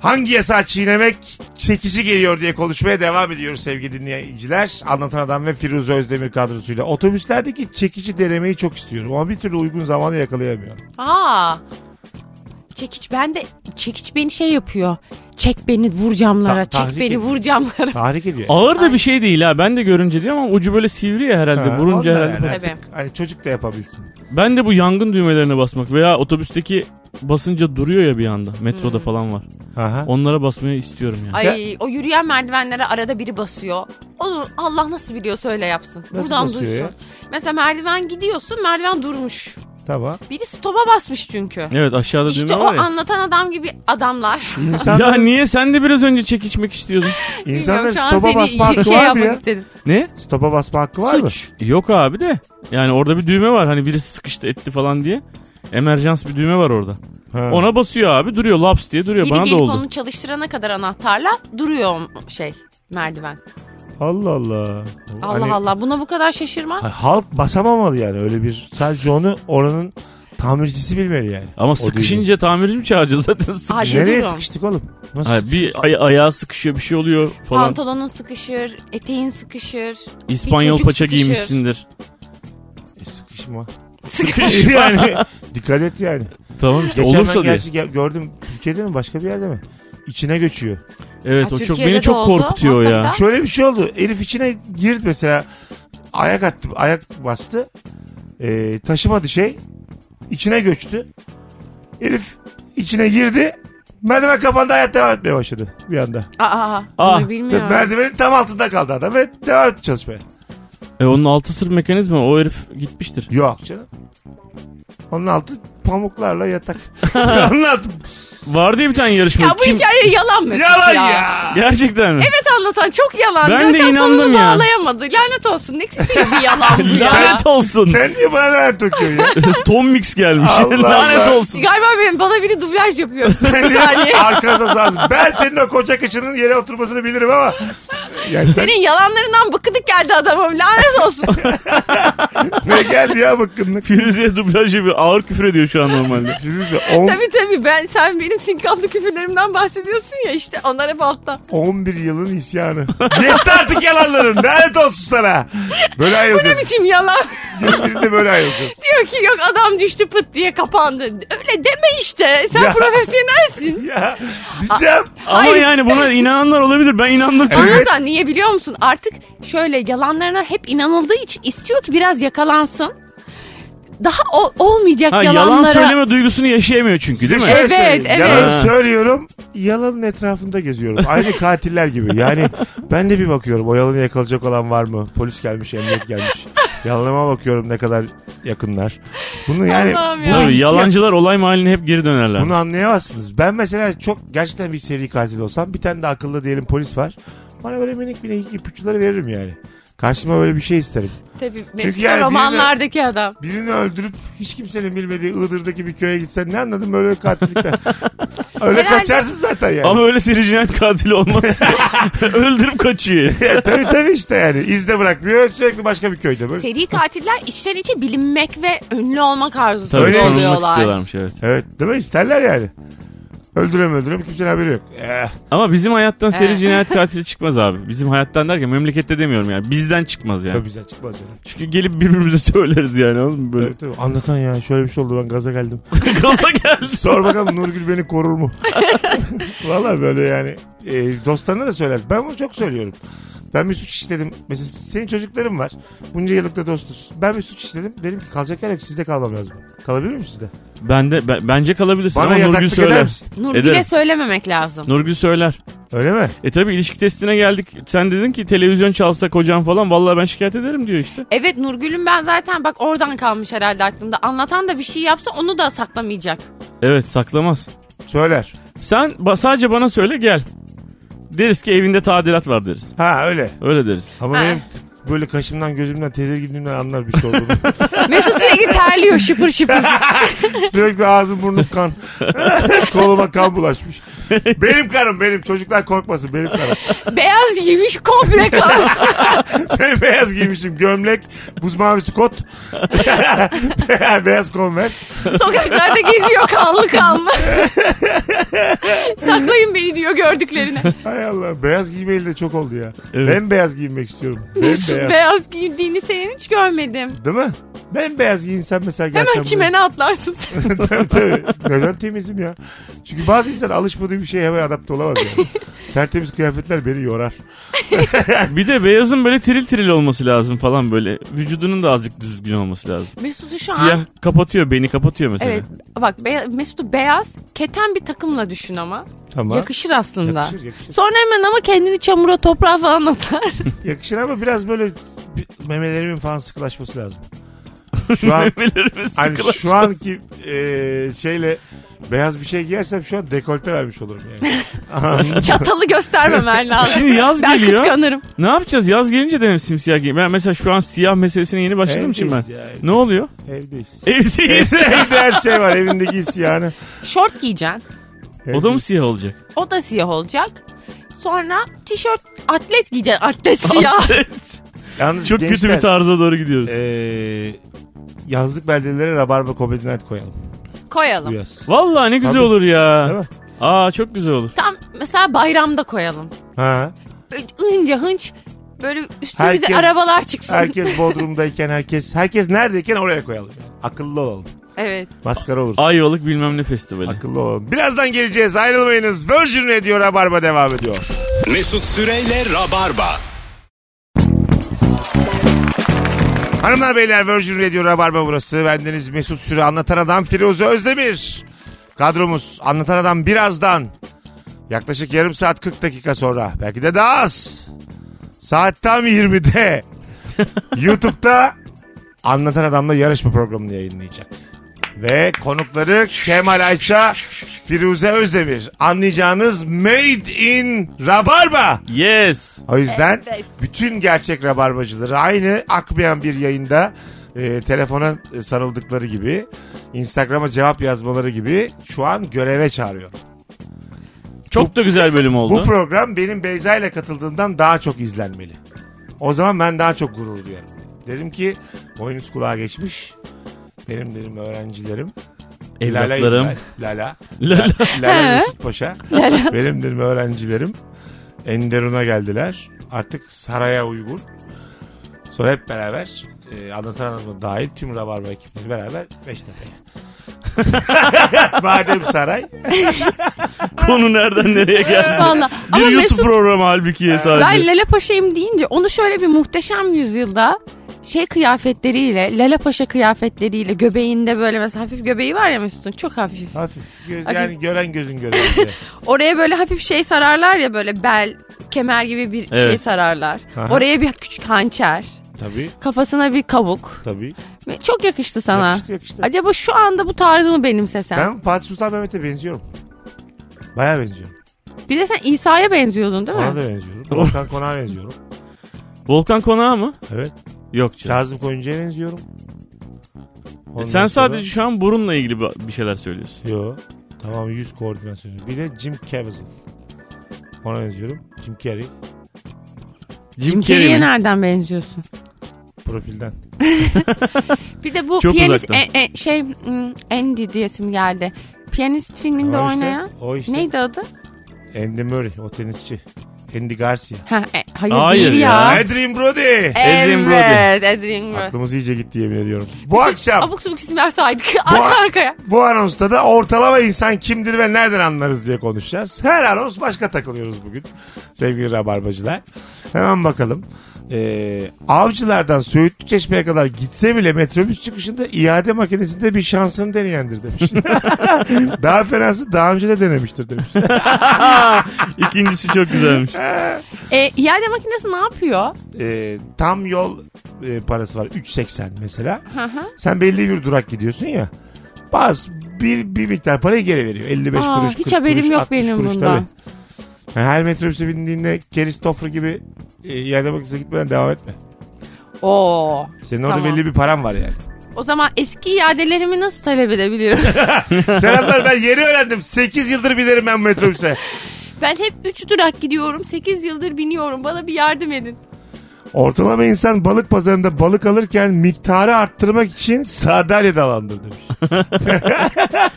[SPEAKER 2] Hangi yasa çiğnemek çekici geliyor diye konuşmaya devam ediyoruz sevgili dinleyiciler. Anlatan Adam ve Firuze Özdemir kadrosuyla. Otobüslerdeki çekici denemeyi çok istiyorum ama bir türlü uygun zamanı yakalayamıyorum.
[SPEAKER 3] Aa. Çekiç ben de çekiç beni şey yapıyor. Çek beni vur camlara.
[SPEAKER 2] Ta- tahrik
[SPEAKER 3] çek beni
[SPEAKER 2] ediyor.
[SPEAKER 3] vur camlara.
[SPEAKER 2] Tahrik ediyor.
[SPEAKER 4] Ağır da bir şey değil ha. Ben de görünce diyor ama ucu böyle sivri ya herhalde.
[SPEAKER 2] Ha,
[SPEAKER 4] Vurunca
[SPEAKER 2] ondan
[SPEAKER 4] herhalde.
[SPEAKER 2] yani
[SPEAKER 3] Tabii.
[SPEAKER 2] artık Hani çocuk da yapabilsin.
[SPEAKER 4] Ben de bu yangın düğmelerine basmak veya otobüsteki basınca duruyor ya bir anda. Metroda falan var.
[SPEAKER 2] Aha.
[SPEAKER 4] Onlara basmayı istiyorum yani.
[SPEAKER 3] Hmm. Ay o yürüyen merdivenlere arada biri basıyor. Onu Allah nasıl biliyorsa öyle yapsın.
[SPEAKER 2] Nasıl
[SPEAKER 3] Buradan
[SPEAKER 2] basıyor
[SPEAKER 3] duysun.
[SPEAKER 2] ya?
[SPEAKER 3] Mesela merdiven gidiyorsun merdiven durmuş.
[SPEAKER 2] Tamam.
[SPEAKER 3] Biri stopa basmış çünkü.
[SPEAKER 4] Evet aşağıda
[SPEAKER 3] İşte
[SPEAKER 4] düğme
[SPEAKER 3] o
[SPEAKER 4] var ya.
[SPEAKER 3] anlatan adam gibi adamlar.
[SPEAKER 4] Ya
[SPEAKER 2] İnsanların,
[SPEAKER 4] niye sen de biraz önce çekiçmek istiyordun?
[SPEAKER 2] insanların
[SPEAKER 3] Bilmiyorum, şu an
[SPEAKER 2] stopa
[SPEAKER 3] seni
[SPEAKER 2] basma hakkı
[SPEAKER 3] şey
[SPEAKER 2] var mı
[SPEAKER 3] yapmak
[SPEAKER 2] ya?
[SPEAKER 3] istedim.
[SPEAKER 4] Ne?
[SPEAKER 2] Stopa basma hakkı var mı?
[SPEAKER 4] Yok abi de. Yani orada bir düğme var. Hani birisi sıkıştı etti falan diye. Emerjans bir düğme var orada.
[SPEAKER 2] Ha.
[SPEAKER 4] Ona basıyor abi. Duruyor laps diye duruyor.
[SPEAKER 3] Biri
[SPEAKER 4] Bana da
[SPEAKER 3] gelip
[SPEAKER 4] oldu.
[SPEAKER 3] onu çalıştırana kadar anahtarla duruyor o şey merdiven.
[SPEAKER 2] Allah Allah.
[SPEAKER 3] Allah
[SPEAKER 2] Hani-
[SPEAKER 3] Allah buna bu kadar
[SPEAKER 4] Hani
[SPEAKER 3] şaşırma.
[SPEAKER 2] Ha- Halk basamamalı yani öyle bir. Sadece onu oranın tamircisi bilmeli yani.
[SPEAKER 4] Ama
[SPEAKER 2] O değil.
[SPEAKER 4] sıkışınca tamirci mi çağıracağız zaten? Sıkış-
[SPEAKER 3] Acil
[SPEAKER 2] Nereye
[SPEAKER 3] durum.
[SPEAKER 2] sıkıştık oğlum? Nasıl?
[SPEAKER 4] Hayır, bir ay- ayağı sıkışıyor bir şey oluyor falan.
[SPEAKER 3] Pantolonun sıkışır, eteğin sıkışır.
[SPEAKER 4] İspanyol
[SPEAKER 3] çocuk
[SPEAKER 4] paça
[SPEAKER 3] sıkışır.
[SPEAKER 4] giymişsindir.
[SPEAKER 2] E, sıkışma.
[SPEAKER 4] Sıkış.
[SPEAKER 2] yani dikkat et yani.
[SPEAKER 4] tamam işte
[SPEAKER 2] Geçen
[SPEAKER 4] olursa
[SPEAKER 2] ben
[SPEAKER 4] diye.
[SPEAKER 2] gerçi ge- gördüm Türkiye'de mi başka bir yerde mi? İçine göçüyor.
[SPEAKER 4] Evet
[SPEAKER 3] Ha,
[SPEAKER 4] o çok
[SPEAKER 3] Türkiye'de
[SPEAKER 4] beni
[SPEAKER 3] de
[SPEAKER 4] çok
[SPEAKER 3] oldu.
[SPEAKER 4] korkutuyor ya.
[SPEAKER 3] Maslak'ta.
[SPEAKER 2] Şöyle bir şey oldu. Elif içine girdi mesela. Ayak attı, ayak bastı. Ee, taşımadı şey. İçine göçtü. Elif içine girdi. Merdiven kapandı hayat devam etmeye başladı bir anda.
[SPEAKER 3] Aa,
[SPEAKER 4] Ah,
[SPEAKER 3] bunu bilmiyorum.
[SPEAKER 2] Merdivenin tam altında kaldı adam ve devam etti çalışmaya.
[SPEAKER 4] E, onun altı sır mekanizma o herif gitmiştir.
[SPEAKER 2] Yok canım. Onun altı pamuklarla yatak. Onun altı
[SPEAKER 4] Var diye bir tane yarışma.
[SPEAKER 3] Ya bu
[SPEAKER 4] Kim-
[SPEAKER 3] hikaye yalan mı?
[SPEAKER 2] yalan ya.
[SPEAKER 4] Gerçekten mi?
[SPEAKER 3] Evet anlatan çok yalan.
[SPEAKER 4] Ben de
[SPEAKER 3] Zaten
[SPEAKER 4] inandım
[SPEAKER 3] sonunu
[SPEAKER 4] ya.
[SPEAKER 3] bağlayamadı. Lanet olsun ne kötü bir yalan bu ya.
[SPEAKER 4] Lanet olsun.
[SPEAKER 2] Sen niye bana lanet okuyorsun ya?
[SPEAKER 4] Tom Mix gelmiş.
[SPEAKER 2] Allah
[SPEAKER 4] Lanet
[SPEAKER 2] Allah.
[SPEAKER 4] olsun.
[SPEAKER 3] Galiba benim, bana biri dublaj yapıyorsun.
[SPEAKER 2] Sen
[SPEAKER 3] saniye.
[SPEAKER 2] niye arkanıza sağsın? Ben senin o koca kışının yere oturmasını bilirim ama. Yani sen
[SPEAKER 3] Senin yalanlarından bıkıdık geldi adamım. Lanet olsun.
[SPEAKER 2] ne geldi ya bıkkınlık?
[SPEAKER 4] Firuze'ye dublaj yapıyor. Ağır küfür ediyor şu an normalde.
[SPEAKER 2] Firuze 10,
[SPEAKER 3] tabii tabii ben sen benim sinkamlı küfürlerimden bahsediyorsun ya işte onlar hep altta.
[SPEAKER 2] 11 yılın isyanı. Yetti artık yalanların. Lanet olsun sana. Böyle
[SPEAKER 3] Ne
[SPEAKER 2] ayrılacağız.
[SPEAKER 3] biçim yalan?
[SPEAKER 2] Birbirini böyle ayrılacağız.
[SPEAKER 3] Diyor ki yok adam düştü pıt diye kapandı. Öyle deme işte. Sen
[SPEAKER 2] Ya.
[SPEAKER 3] profesyonelsin.
[SPEAKER 2] Ya diyeceğim.
[SPEAKER 4] Ama
[SPEAKER 3] Hayır.
[SPEAKER 4] yani buna inananlar olabilir. Ben inandım. çünkü.
[SPEAKER 2] Evet.
[SPEAKER 3] Anlatan niye biliyor musun? Artık şöyle yalanlarına hep inanıldığı için istiyor ki biraz yakalansın. Daha o- olmayacak
[SPEAKER 4] Ha, yalan
[SPEAKER 3] yalanlara.
[SPEAKER 4] söyleme duygusunu yaşayamıyor çünkü değil mi?
[SPEAKER 2] Şöyle
[SPEAKER 3] Evet,
[SPEAKER 2] söyleyeyim.
[SPEAKER 3] evet.
[SPEAKER 2] Yalan
[SPEAKER 4] Ha.
[SPEAKER 2] söylüyorum. Yalanın etrafında geziyorum. Aynı katiller gibi. Yani ben de bir bakıyorum o yalanı yakalayacak olan var mı? Polis gelmiş, emniyet gelmiş. Yalanıma bakıyorum ne kadar yakınlar. Bunu yani
[SPEAKER 3] Allah'ım ya.
[SPEAKER 2] bunu,
[SPEAKER 4] Tabii,
[SPEAKER 2] hissiyat-
[SPEAKER 4] yalancılar olay mahalline hep geri dönerler.
[SPEAKER 2] bunu anlayamazsınız. Ben mesela çok gerçekten bir seri katil olsam bir tane de akıllı diyelim polis var. Bana böyle minik minik ipuçları veririm yani. Karşıma böyle bir şey isterim.
[SPEAKER 3] Tabii
[SPEAKER 2] Çünkü
[SPEAKER 3] Çünkü
[SPEAKER 2] yani
[SPEAKER 3] romanlardaki adam.
[SPEAKER 2] Birini öldürüp hiç kimsenin bilmediği Iğdır'daki bir köye gitsen ne anladım böyle katillikten. Öyle
[SPEAKER 3] Herhalde-
[SPEAKER 2] kaçarsın zaten yani.
[SPEAKER 4] Ama öyle seri cinayet katili olmaz. Öldürüp kaçıyor.
[SPEAKER 2] Ya tabii tabii işte yani. İzde bırakmıyor. Sürekli başka bir köyde. Böyle.
[SPEAKER 3] Seri katiller içten içe bilinmek ve ünlü olmak arzusu
[SPEAKER 4] Tabii
[SPEAKER 2] Öyle
[SPEAKER 4] tanınmak
[SPEAKER 3] oluyorlar.
[SPEAKER 4] istiyorlarmış evet.
[SPEAKER 2] Evet değil mi? İsterler yani. Öldürem öldürem kimsenin haberi yok. Eh,
[SPEAKER 4] Ama bizim hayattan seri
[SPEAKER 3] Evet.
[SPEAKER 4] cinayet katili çıkmaz abi. Bizim hayattan derken memlekette demiyorum yani. Bizden çıkmaz yani.
[SPEAKER 2] tabii güzel çıkmaz öyle.
[SPEAKER 4] Çünkü gelip birbirimize söyleriz yani anladın mı? Böyle
[SPEAKER 2] Tabii, tabii. Anlatan ya şöyle bir şey oldu ben gaza geldim.
[SPEAKER 4] gaza geldi.
[SPEAKER 2] Sor bakalım Nurgül beni korur mu? Valla böyle yani. E, dostlarına da söyler. Ben bunu çok söylüyorum. Ben bir suç işledim. Mesela senin çocukların var. Bunca yıllıkta dostuz. Ben bir suç işledim. Dedim ki kalacak yer yok. Sizde kalmam lazım. Kalabilir miyim sizde?
[SPEAKER 4] Ben de ben- bence kalabilirsin
[SPEAKER 2] Bana
[SPEAKER 4] ama Nurgül
[SPEAKER 2] yataklık eder
[SPEAKER 4] söyler.
[SPEAKER 2] misin?
[SPEAKER 3] Nurgül'e
[SPEAKER 4] Ederim.
[SPEAKER 3] söylememek lazım.
[SPEAKER 4] Nurgül söyler.
[SPEAKER 2] Öyle mi?
[SPEAKER 4] E tabi ilişki testine geldik. Sen dedin ki televizyon çalsa kocam falan vallahi ben şikayet ederim diyor işte.
[SPEAKER 3] Evet Nurgül'ün ben zaten bak oradan kalmış herhalde aklımda. Anlatan da bir şey yapsa onu da saklamayacak.
[SPEAKER 4] Evet saklamaz.
[SPEAKER 2] Söyler.
[SPEAKER 4] Sen ba- sadece bana söyle gel. Deriz ki evinde tadilat var deriz.
[SPEAKER 2] Ha öyle.
[SPEAKER 4] Öyle deriz.
[SPEAKER 2] Ama
[SPEAKER 3] Ha.
[SPEAKER 2] benim böyle kaşımdan gözümden tedirginliğimden anlar bir şey olduğunu.
[SPEAKER 3] Mesut sürekli terliyor şıpır şıpır.
[SPEAKER 2] Sürekli ağzım burnum kan. Koluma kan bulaşmış. Benim kanım benim. Çocuklar korkmasın benim kanım.
[SPEAKER 3] Beyaz giymiş komple kan.
[SPEAKER 2] Ben beyaz giymişim. Gömlek, buz mavisi kot. beyaz konvers.
[SPEAKER 3] Sokaklarda geziyor kanlı kanlı. Saklayın beni diyor gördüklerine.
[SPEAKER 2] Hay Allah. Beyaz giymeyeli de çok oldu ya.
[SPEAKER 4] Evet.
[SPEAKER 2] Ben beyaz giymek istiyorum. Ben
[SPEAKER 3] Mesut
[SPEAKER 2] beyaz.
[SPEAKER 3] beyaz giydiğini senin hiç görmedim.
[SPEAKER 2] Değil mi? Ben beyaz giyinsem mesela gerçekten...
[SPEAKER 3] Hemen çimene atlarsın sen.
[SPEAKER 2] tabii tabii. Neden temizim ya? Çünkü bazı insan alışmadığı bir şeye hemen adapte olamaz yani. Tertemiz kıyafetler beni yorar.
[SPEAKER 4] Bir de beyazın böyle tiril tiril olması lazım falan böyle. Vücudunun da azıcık düzgün olması lazım.
[SPEAKER 3] Mesut'u şu an...
[SPEAKER 4] Siyah kapatıyor beni kapatıyor mesela.
[SPEAKER 3] Evet bak be- Mesut'u beyaz keten bir takımla düşün ama.
[SPEAKER 2] Tamam.
[SPEAKER 3] Yakışır aslında.
[SPEAKER 2] Yakışır, yakışır.
[SPEAKER 3] Sonra hemen ama kendini çamura toprağa falan atar.
[SPEAKER 2] Yakışır ama biraz böyle bir- memelerimin falan sıkılaşması lazım. Şu an
[SPEAKER 4] Memelerimiz
[SPEAKER 2] hani
[SPEAKER 4] sıkılar.
[SPEAKER 2] şu anki e, şeyle beyaz bir şey giyersem şu an dekolte vermiş olurum yani. Anladın mı?
[SPEAKER 3] Çatalı göstermemen lazım.
[SPEAKER 4] Şimdi yaz
[SPEAKER 3] ben
[SPEAKER 4] geliyor.
[SPEAKER 3] kıskanırım.
[SPEAKER 4] Ne yapacağız? Yaz gelince de mi simsiyah giy? Ben mesela şu an siyah meselesine yeni başladım için ben.
[SPEAKER 2] Evdeyiz ya, evdeyiz.
[SPEAKER 4] Ne oluyor?
[SPEAKER 2] Evdeyiz.
[SPEAKER 4] Evdeyiz.
[SPEAKER 2] Evde her şey var. Evinde giysi yani.
[SPEAKER 3] Şort giyeceksin.
[SPEAKER 4] o da mı siyah olacak?
[SPEAKER 3] O da siyah olacak. Sonra tişört atlet giyeceksin. Atlet siyah.
[SPEAKER 4] Evet.
[SPEAKER 2] Yalnız
[SPEAKER 4] Çok kötü
[SPEAKER 2] gençler,
[SPEAKER 4] bir tarza doğru gidiyoruz.
[SPEAKER 2] e, yazlık beldelere rabarba comedy night koyalım. Bu
[SPEAKER 3] koyalım.
[SPEAKER 2] yaz.
[SPEAKER 4] Vallahi ne güzel
[SPEAKER 2] Tabii.
[SPEAKER 4] olur
[SPEAKER 2] Değil
[SPEAKER 4] ya.
[SPEAKER 2] mi?
[SPEAKER 4] Aa çok güzel olur.
[SPEAKER 3] Tam mesela bayramda koyalım.
[SPEAKER 2] Ha.
[SPEAKER 3] Böyle hınca hınç böyle üstümüze
[SPEAKER 2] Herkes-
[SPEAKER 3] arabalar çıksın.
[SPEAKER 2] Herkes Bodrum'dayken herkes herkes neredeyken oraya koyalım. yani. Akıllı olalım.
[SPEAKER 3] Evet.
[SPEAKER 2] Maskara olursun.
[SPEAKER 4] Ayvalık bilmem ne festivali.
[SPEAKER 2] Akıllı olalım. Birazdan geleceğiz. Ayrılmayınız. Virgin Radio Rabarba devam ediyor.
[SPEAKER 1] Mesut Süreyle Rabarba.
[SPEAKER 2] Hanımlar beyler Virgin Radio Rabarba burası. Bendeniz Mesut Süre Anlatan Adam Firuze Özdemir. Kadromuz Anlatan Adam birazdan. Yaklaşık yarım saat 40 dakika sonra. Belki de daha az. Saat tam 20'de. YouTube'da Anlatan Adam'la yarışma programını yayınlayacak. Ve konukları Kemal Ayça, Firuze Özdemir. Anlayacağınız Made in Rabarba.
[SPEAKER 4] Yes.
[SPEAKER 2] O yüzden
[SPEAKER 3] Evet.
[SPEAKER 2] bütün gerçek rabarbacıları aynı akmayan bir yayında e, telefona e, sarıldıkları gibi Instagram'a cevap yazmaları gibi şu an göreve çağırıyorum.
[SPEAKER 4] Çok da güzel bölüm
[SPEAKER 2] Bu
[SPEAKER 4] oldu.
[SPEAKER 2] program benim Beyza ile katıldığımdan daha çok izlenmeli. O zaman ben daha çok gurur duyarım. Derim ki boynuz kulağa geçmiş. Benim derim öğrencilerim.
[SPEAKER 4] Evlatlarım.
[SPEAKER 2] Lala, Lala,
[SPEAKER 4] Lala.
[SPEAKER 2] Lala Mesut Paşa. Benim derim öğrencilerim. Enderun'a geldiler. Artık saraya uygun. Sonra hep beraber e, Anlatan Hanım'la dahil tüm Rabarba ekibimiz beraber Beştepe'ye. Madem saray.
[SPEAKER 4] Konu nereden nereye geldi?
[SPEAKER 3] Vallahi.
[SPEAKER 4] Bir
[SPEAKER 3] Ama
[SPEAKER 4] YouTube
[SPEAKER 3] Mesut
[SPEAKER 4] programı halbuki sadece.
[SPEAKER 3] ben Lale Paşa'yım deyince onu şöyle bir muhteşem yüzyılda şey kıyafetleriyle, Lale Paşa kıyafetleriyle göbeğinde böyle mesela hafif göbeği var ya Mesut'un çok hafif.
[SPEAKER 2] Hafif. Göz,
[SPEAKER 3] Hafif.
[SPEAKER 2] yani gören gözün görüyor. diye.
[SPEAKER 3] Oraya böyle hafif şey sararlar ya böyle bel, kemer gibi bir şey
[SPEAKER 4] Evet.
[SPEAKER 3] sararlar.
[SPEAKER 2] Aha.
[SPEAKER 3] Oraya bir küçük hançer,
[SPEAKER 2] tabii
[SPEAKER 3] kafasına bir kabuk.
[SPEAKER 2] tabii.
[SPEAKER 3] Ve Çok yakıştı sana.
[SPEAKER 2] Yakıştı yakıştı.
[SPEAKER 3] Acaba şu anda bu tarzı mı benimsesem?
[SPEAKER 2] Ben Fatih Sultan Mehmet'e benziyorum. Baya benziyorum.
[SPEAKER 3] Bir de sen İsa'ya benziyordun değil mi?
[SPEAKER 2] Ona da benziyorum. Volkan Konak'a benziyorum.
[SPEAKER 4] Volkan Konağı mı?
[SPEAKER 2] Evet.
[SPEAKER 4] Yok canım.
[SPEAKER 2] Kazım Koyuncu'ya benziyorum. Ondan
[SPEAKER 4] E Sen
[SPEAKER 2] sonra-
[SPEAKER 4] sadece şu an burunla ilgili bir bir şeyler söylüyorsun.
[SPEAKER 2] Yo. Tamam yüz koordinasyonu. Bir de Jim Caviezel. Ona benziyorum. Jim Carrey.
[SPEAKER 4] Jim Carrey
[SPEAKER 3] Kiriye
[SPEAKER 4] mi?
[SPEAKER 3] nereden benziyorsun?
[SPEAKER 2] Profilden.
[SPEAKER 3] Bir de bu
[SPEAKER 4] Çok
[SPEAKER 3] piyanist
[SPEAKER 4] uzaktan.
[SPEAKER 3] e- e- şey hmm, Andy diyesim geldi. Piyanist filminde
[SPEAKER 2] O işte,
[SPEAKER 3] oynayan
[SPEAKER 2] O işte.
[SPEAKER 3] neydi adı?
[SPEAKER 2] Andy Murray. O tenisçi. Andy Garcia.
[SPEAKER 3] Ha, e, hayır,
[SPEAKER 4] Hayır
[SPEAKER 3] değil
[SPEAKER 4] ya.
[SPEAKER 3] ya.
[SPEAKER 2] Adrian Brody.
[SPEAKER 4] Adrian Brody.
[SPEAKER 3] Evet, Adrian Brody.
[SPEAKER 2] Aklımız iyice gitti yemin ediyorum. Bu akşam
[SPEAKER 3] Abuk subuk isimler saydık. Arka arkaya.
[SPEAKER 2] bu anonsta da ortalama insan kimdir ve nereden anlarız diye konuşacağız. Her anons başka takılıyoruz bugün sevgili rabarbacılar. Hemen bakalım. e, avcılardan Söğütlü Çeşme'ye kadar gitse bile metrobüs çıkışında iade makinesinde bir şansını deneyendir demiş. daha fenası daha önce de denemiştir demiş.
[SPEAKER 4] İkincisi çok güzelmiş.
[SPEAKER 3] E, iade makinesi ne yapıyor?
[SPEAKER 2] E, tam yol e, parası var 3.80 mesela.
[SPEAKER 3] Hı hı.
[SPEAKER 2] Sen belli bir durak gidiyorsun ya. Bas bir, bir miktar parayı geri veriyor. 55
[SPEAKER 3] Aa,
[SPEAKER 2] kuruş,
[SPEAKER 3] hiç
[SPEAKER 2] 40
[SPEAKER 3] haberim
[SPEAKER 2] kuruş,
[SPEAKER 3] yok
[SPEAKER 2] 60
[SPEAKER 3] benim
[SPEAKER 2] kuruş
[SPEAKER 3] bundan.
[SPEAKER 2] tabii. Yani her metrobüse bindiğinde Keristoffer gibi e, yerde bakışa gitmeden devam etme.
[SPEAKER 3] Oo.
[SPEAKER 2] Senin orada
[SPEAKER 3] Tamam.
[SPEAKER 2] belli bir paran var yani.
[SPEAKER 3] O zaman eski iadelerimi nasıl talep edebilirim?
[SPEAKER 2] Selamlar ben yeni öğrendim. 8 yıldır binerim ben metrobüse.
[SPEAKER 3] ben hep 3 durak gidiyorum. 8 yıldır biniyorum. Bana bir yardım edin.
[SPEAKER 2] Ortalama insan balık pazarında balık alırken miktarı arttırmak için sardalya dalandır demiş.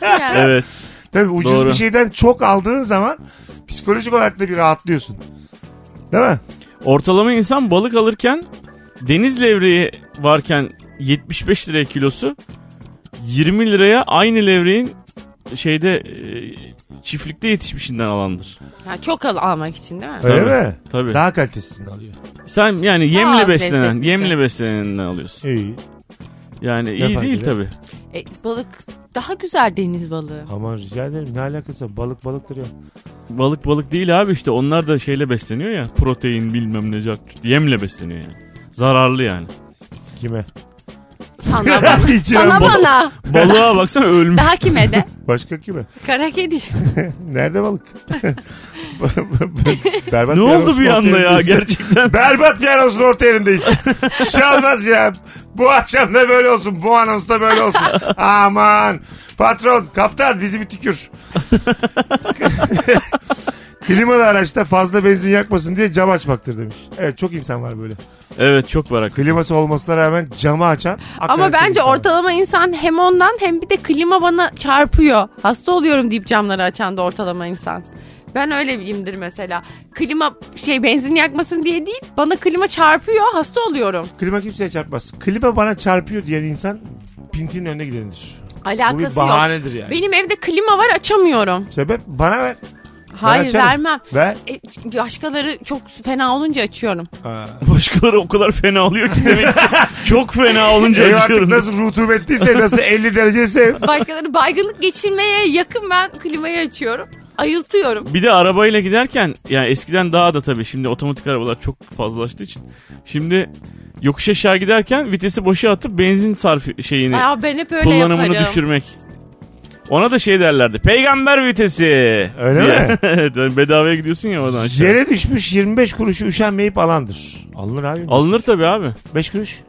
[SPEAKER 3] Yani
[SPEAKER 4] Evet.
[SPEAKER 2] Tabii ucuz
[SPEAKER 4] Doğru.
[SPEAKER 2] bir şeyden çok aldığın zaman psikolojik olarak da bir rahatlıyorsun. Değil mi?
[SPEAKER 4] Ortalama insan balık alırken deniz levreği varken 75 liraya kilosu 20 liraya aynı levreğin şeyde e, çiftlikte yetişmişinden alandır.
[SPEAKER 3] Ha, çok al almak için değil mi?
[SPEAKER 2] Öyle
[SPEAKER 4] Tabii.
[SPEAKER 2] mi?
[SPEAKER 4] Tabii.
[SPEAKER 2] Daha kalitesini alıyor.
[SPEAKER 4] Sen yani yemle
[SPEAKER 3] Daha
[SPEAKER 4] beslenen,
[SPEAKER 3] lezzetlisi.
[SPEAKER 4] yemle beslenenden alıyorsun.
[SPEAKER 2] İyi.
[SPEAKER 4] Yani iyi
[SPEAKER 2] fark
[SPEAKER 4] değil
[SPEAKER 2] eder?
[SPEAKER 4] tabii.
[SPEAKER 3] E, balık daha güzel deniz balığı.
[SPEAKER 2] Ama rica ederim ne alakası var? balık balıktır ya.
[SPEAKER 4] Balık balık değil abi işte onlar da şeyle besleniyor ya. Protein bilmem ne cart curt. yemle besleniyor yani. Zararlı yani.
[SPEAKER 2] Kime?
[SPEAKER 3] Sana bana.
[SPEAKER 2] İçine
[SPEAKER 3] Sana
[SPEAKER 2] bak-
[SPEAKER 3] bana.
[SPEAKER 4] Balığa baksana ölmüş.
[SPEAKER 3] Daha kime de?
[SPEAKER 2] Başka kime?
[SPEAKER 3] Kara kedi.
[SPEAKER 2] Nerede balık? Berbat
[SPEAKER 4] ne oldu
[SPEAKER 2] anonsun
[SPEAKER 4] bir
[SPEAKER 2] ortaya
[SPEAKER 4] anda ya
[SPEAKER 2] yerindeyiz.
[SPEAKER 4] gerçekten?
[SPEAKER 2] Berbat bir anonsun orta yerindeyiz. Bir şey olmaz ya. Bu akşam da böyle olsun. Bu anons da böyle olsun. Aman. Patron, kaptan bizi bir tükür. Klimalı araçta fazla benzin yakmasın diye cam açmaktır demiş. Evet çok insan var böyle.
[SPEAKER 4] Evet çok var hakikaten.
[SPEAKER 2] Kliması olmasına rağmen camı açan.
[SPEAKER 3] Ama
[SPEAKER 2] hakikaten çok
[SPEAKER 3] bence
[SPEAKER 2] insan var.
[SPEAKER 3] ortalama insan hem ondan hem bir de klima bana çarpıyor. Hasta oluyorum deyip camları açan da ortalama insan. Ben öyle biriyimdir mesela. Klima şey benzin yakmasın diye değil bana klima çarpıyor hasta oluyorum.
[SPEAKER 2] Klima kimseye çarpmaz. Klima bana çarpıyor diyen insan pintinin önüne gidenidir. Bu bir
[SPEAKER 3] Alakası yok.
[SPEAKER 2] bahanedir yani.
[SPEAKER 3] Benim evde klima var açamıyorum.
[SPEAKER 2] Sebep bana ver.
[SPEAKER 3] Hayır
[SPEAKER 2] açarım.
[SPEAKER 3] vermem.
[SPEAKER 2] Ver.
[SPEAKER 3] E, başkaları çok fena olunca açıyorum.
[SPEAKER 2] Aa.
[SPEAKER 4] Başkaları o kadar fena oluyor ki demek ki. Çok fena olunca
[SPEAKER 2] Ev artık
[SPEAKER 4] acıyorum.
[SPEAKER 2] nasıl rutubetliyse nasıl 50 dereceyse
[SPEAKER 3] Başkaları baygınlık geçirmeye yakın ben klimayı açıyorum. Ayıltıyorum.
[SPEAKER 4] Bir de arabayla giderken yani eskiden daha da tabii şimdi otomatik arabalar çok fazlalaştığı için. Şimdi yokuş aşağı giderken vitesi boşa atıp benzin sarfı şeyini
[SPEAKER 3] Aa, ben hep öyle
[SPEAKER 4] kullanımını
[SPEAKER 3] yaparım.
[SPEAKER 4] düşürmek. Ona da şey derlerdi. Peygamber vitesi.
[SPEAKER 2] Öyle
[SPEAKER 4] diye.
[SPEAKER 2] mi?
[SPEAKER 4] evet yani bedavaya gidiyorsun ya oradan aşağı.
[SPEAKER 2] yere düşmüş 25 kuruşu üşenmeyip alandır. Alınır abi.
[SPEAKER 4] Alınır tabii abi.
[SPEAKER 2] 5 kuruş.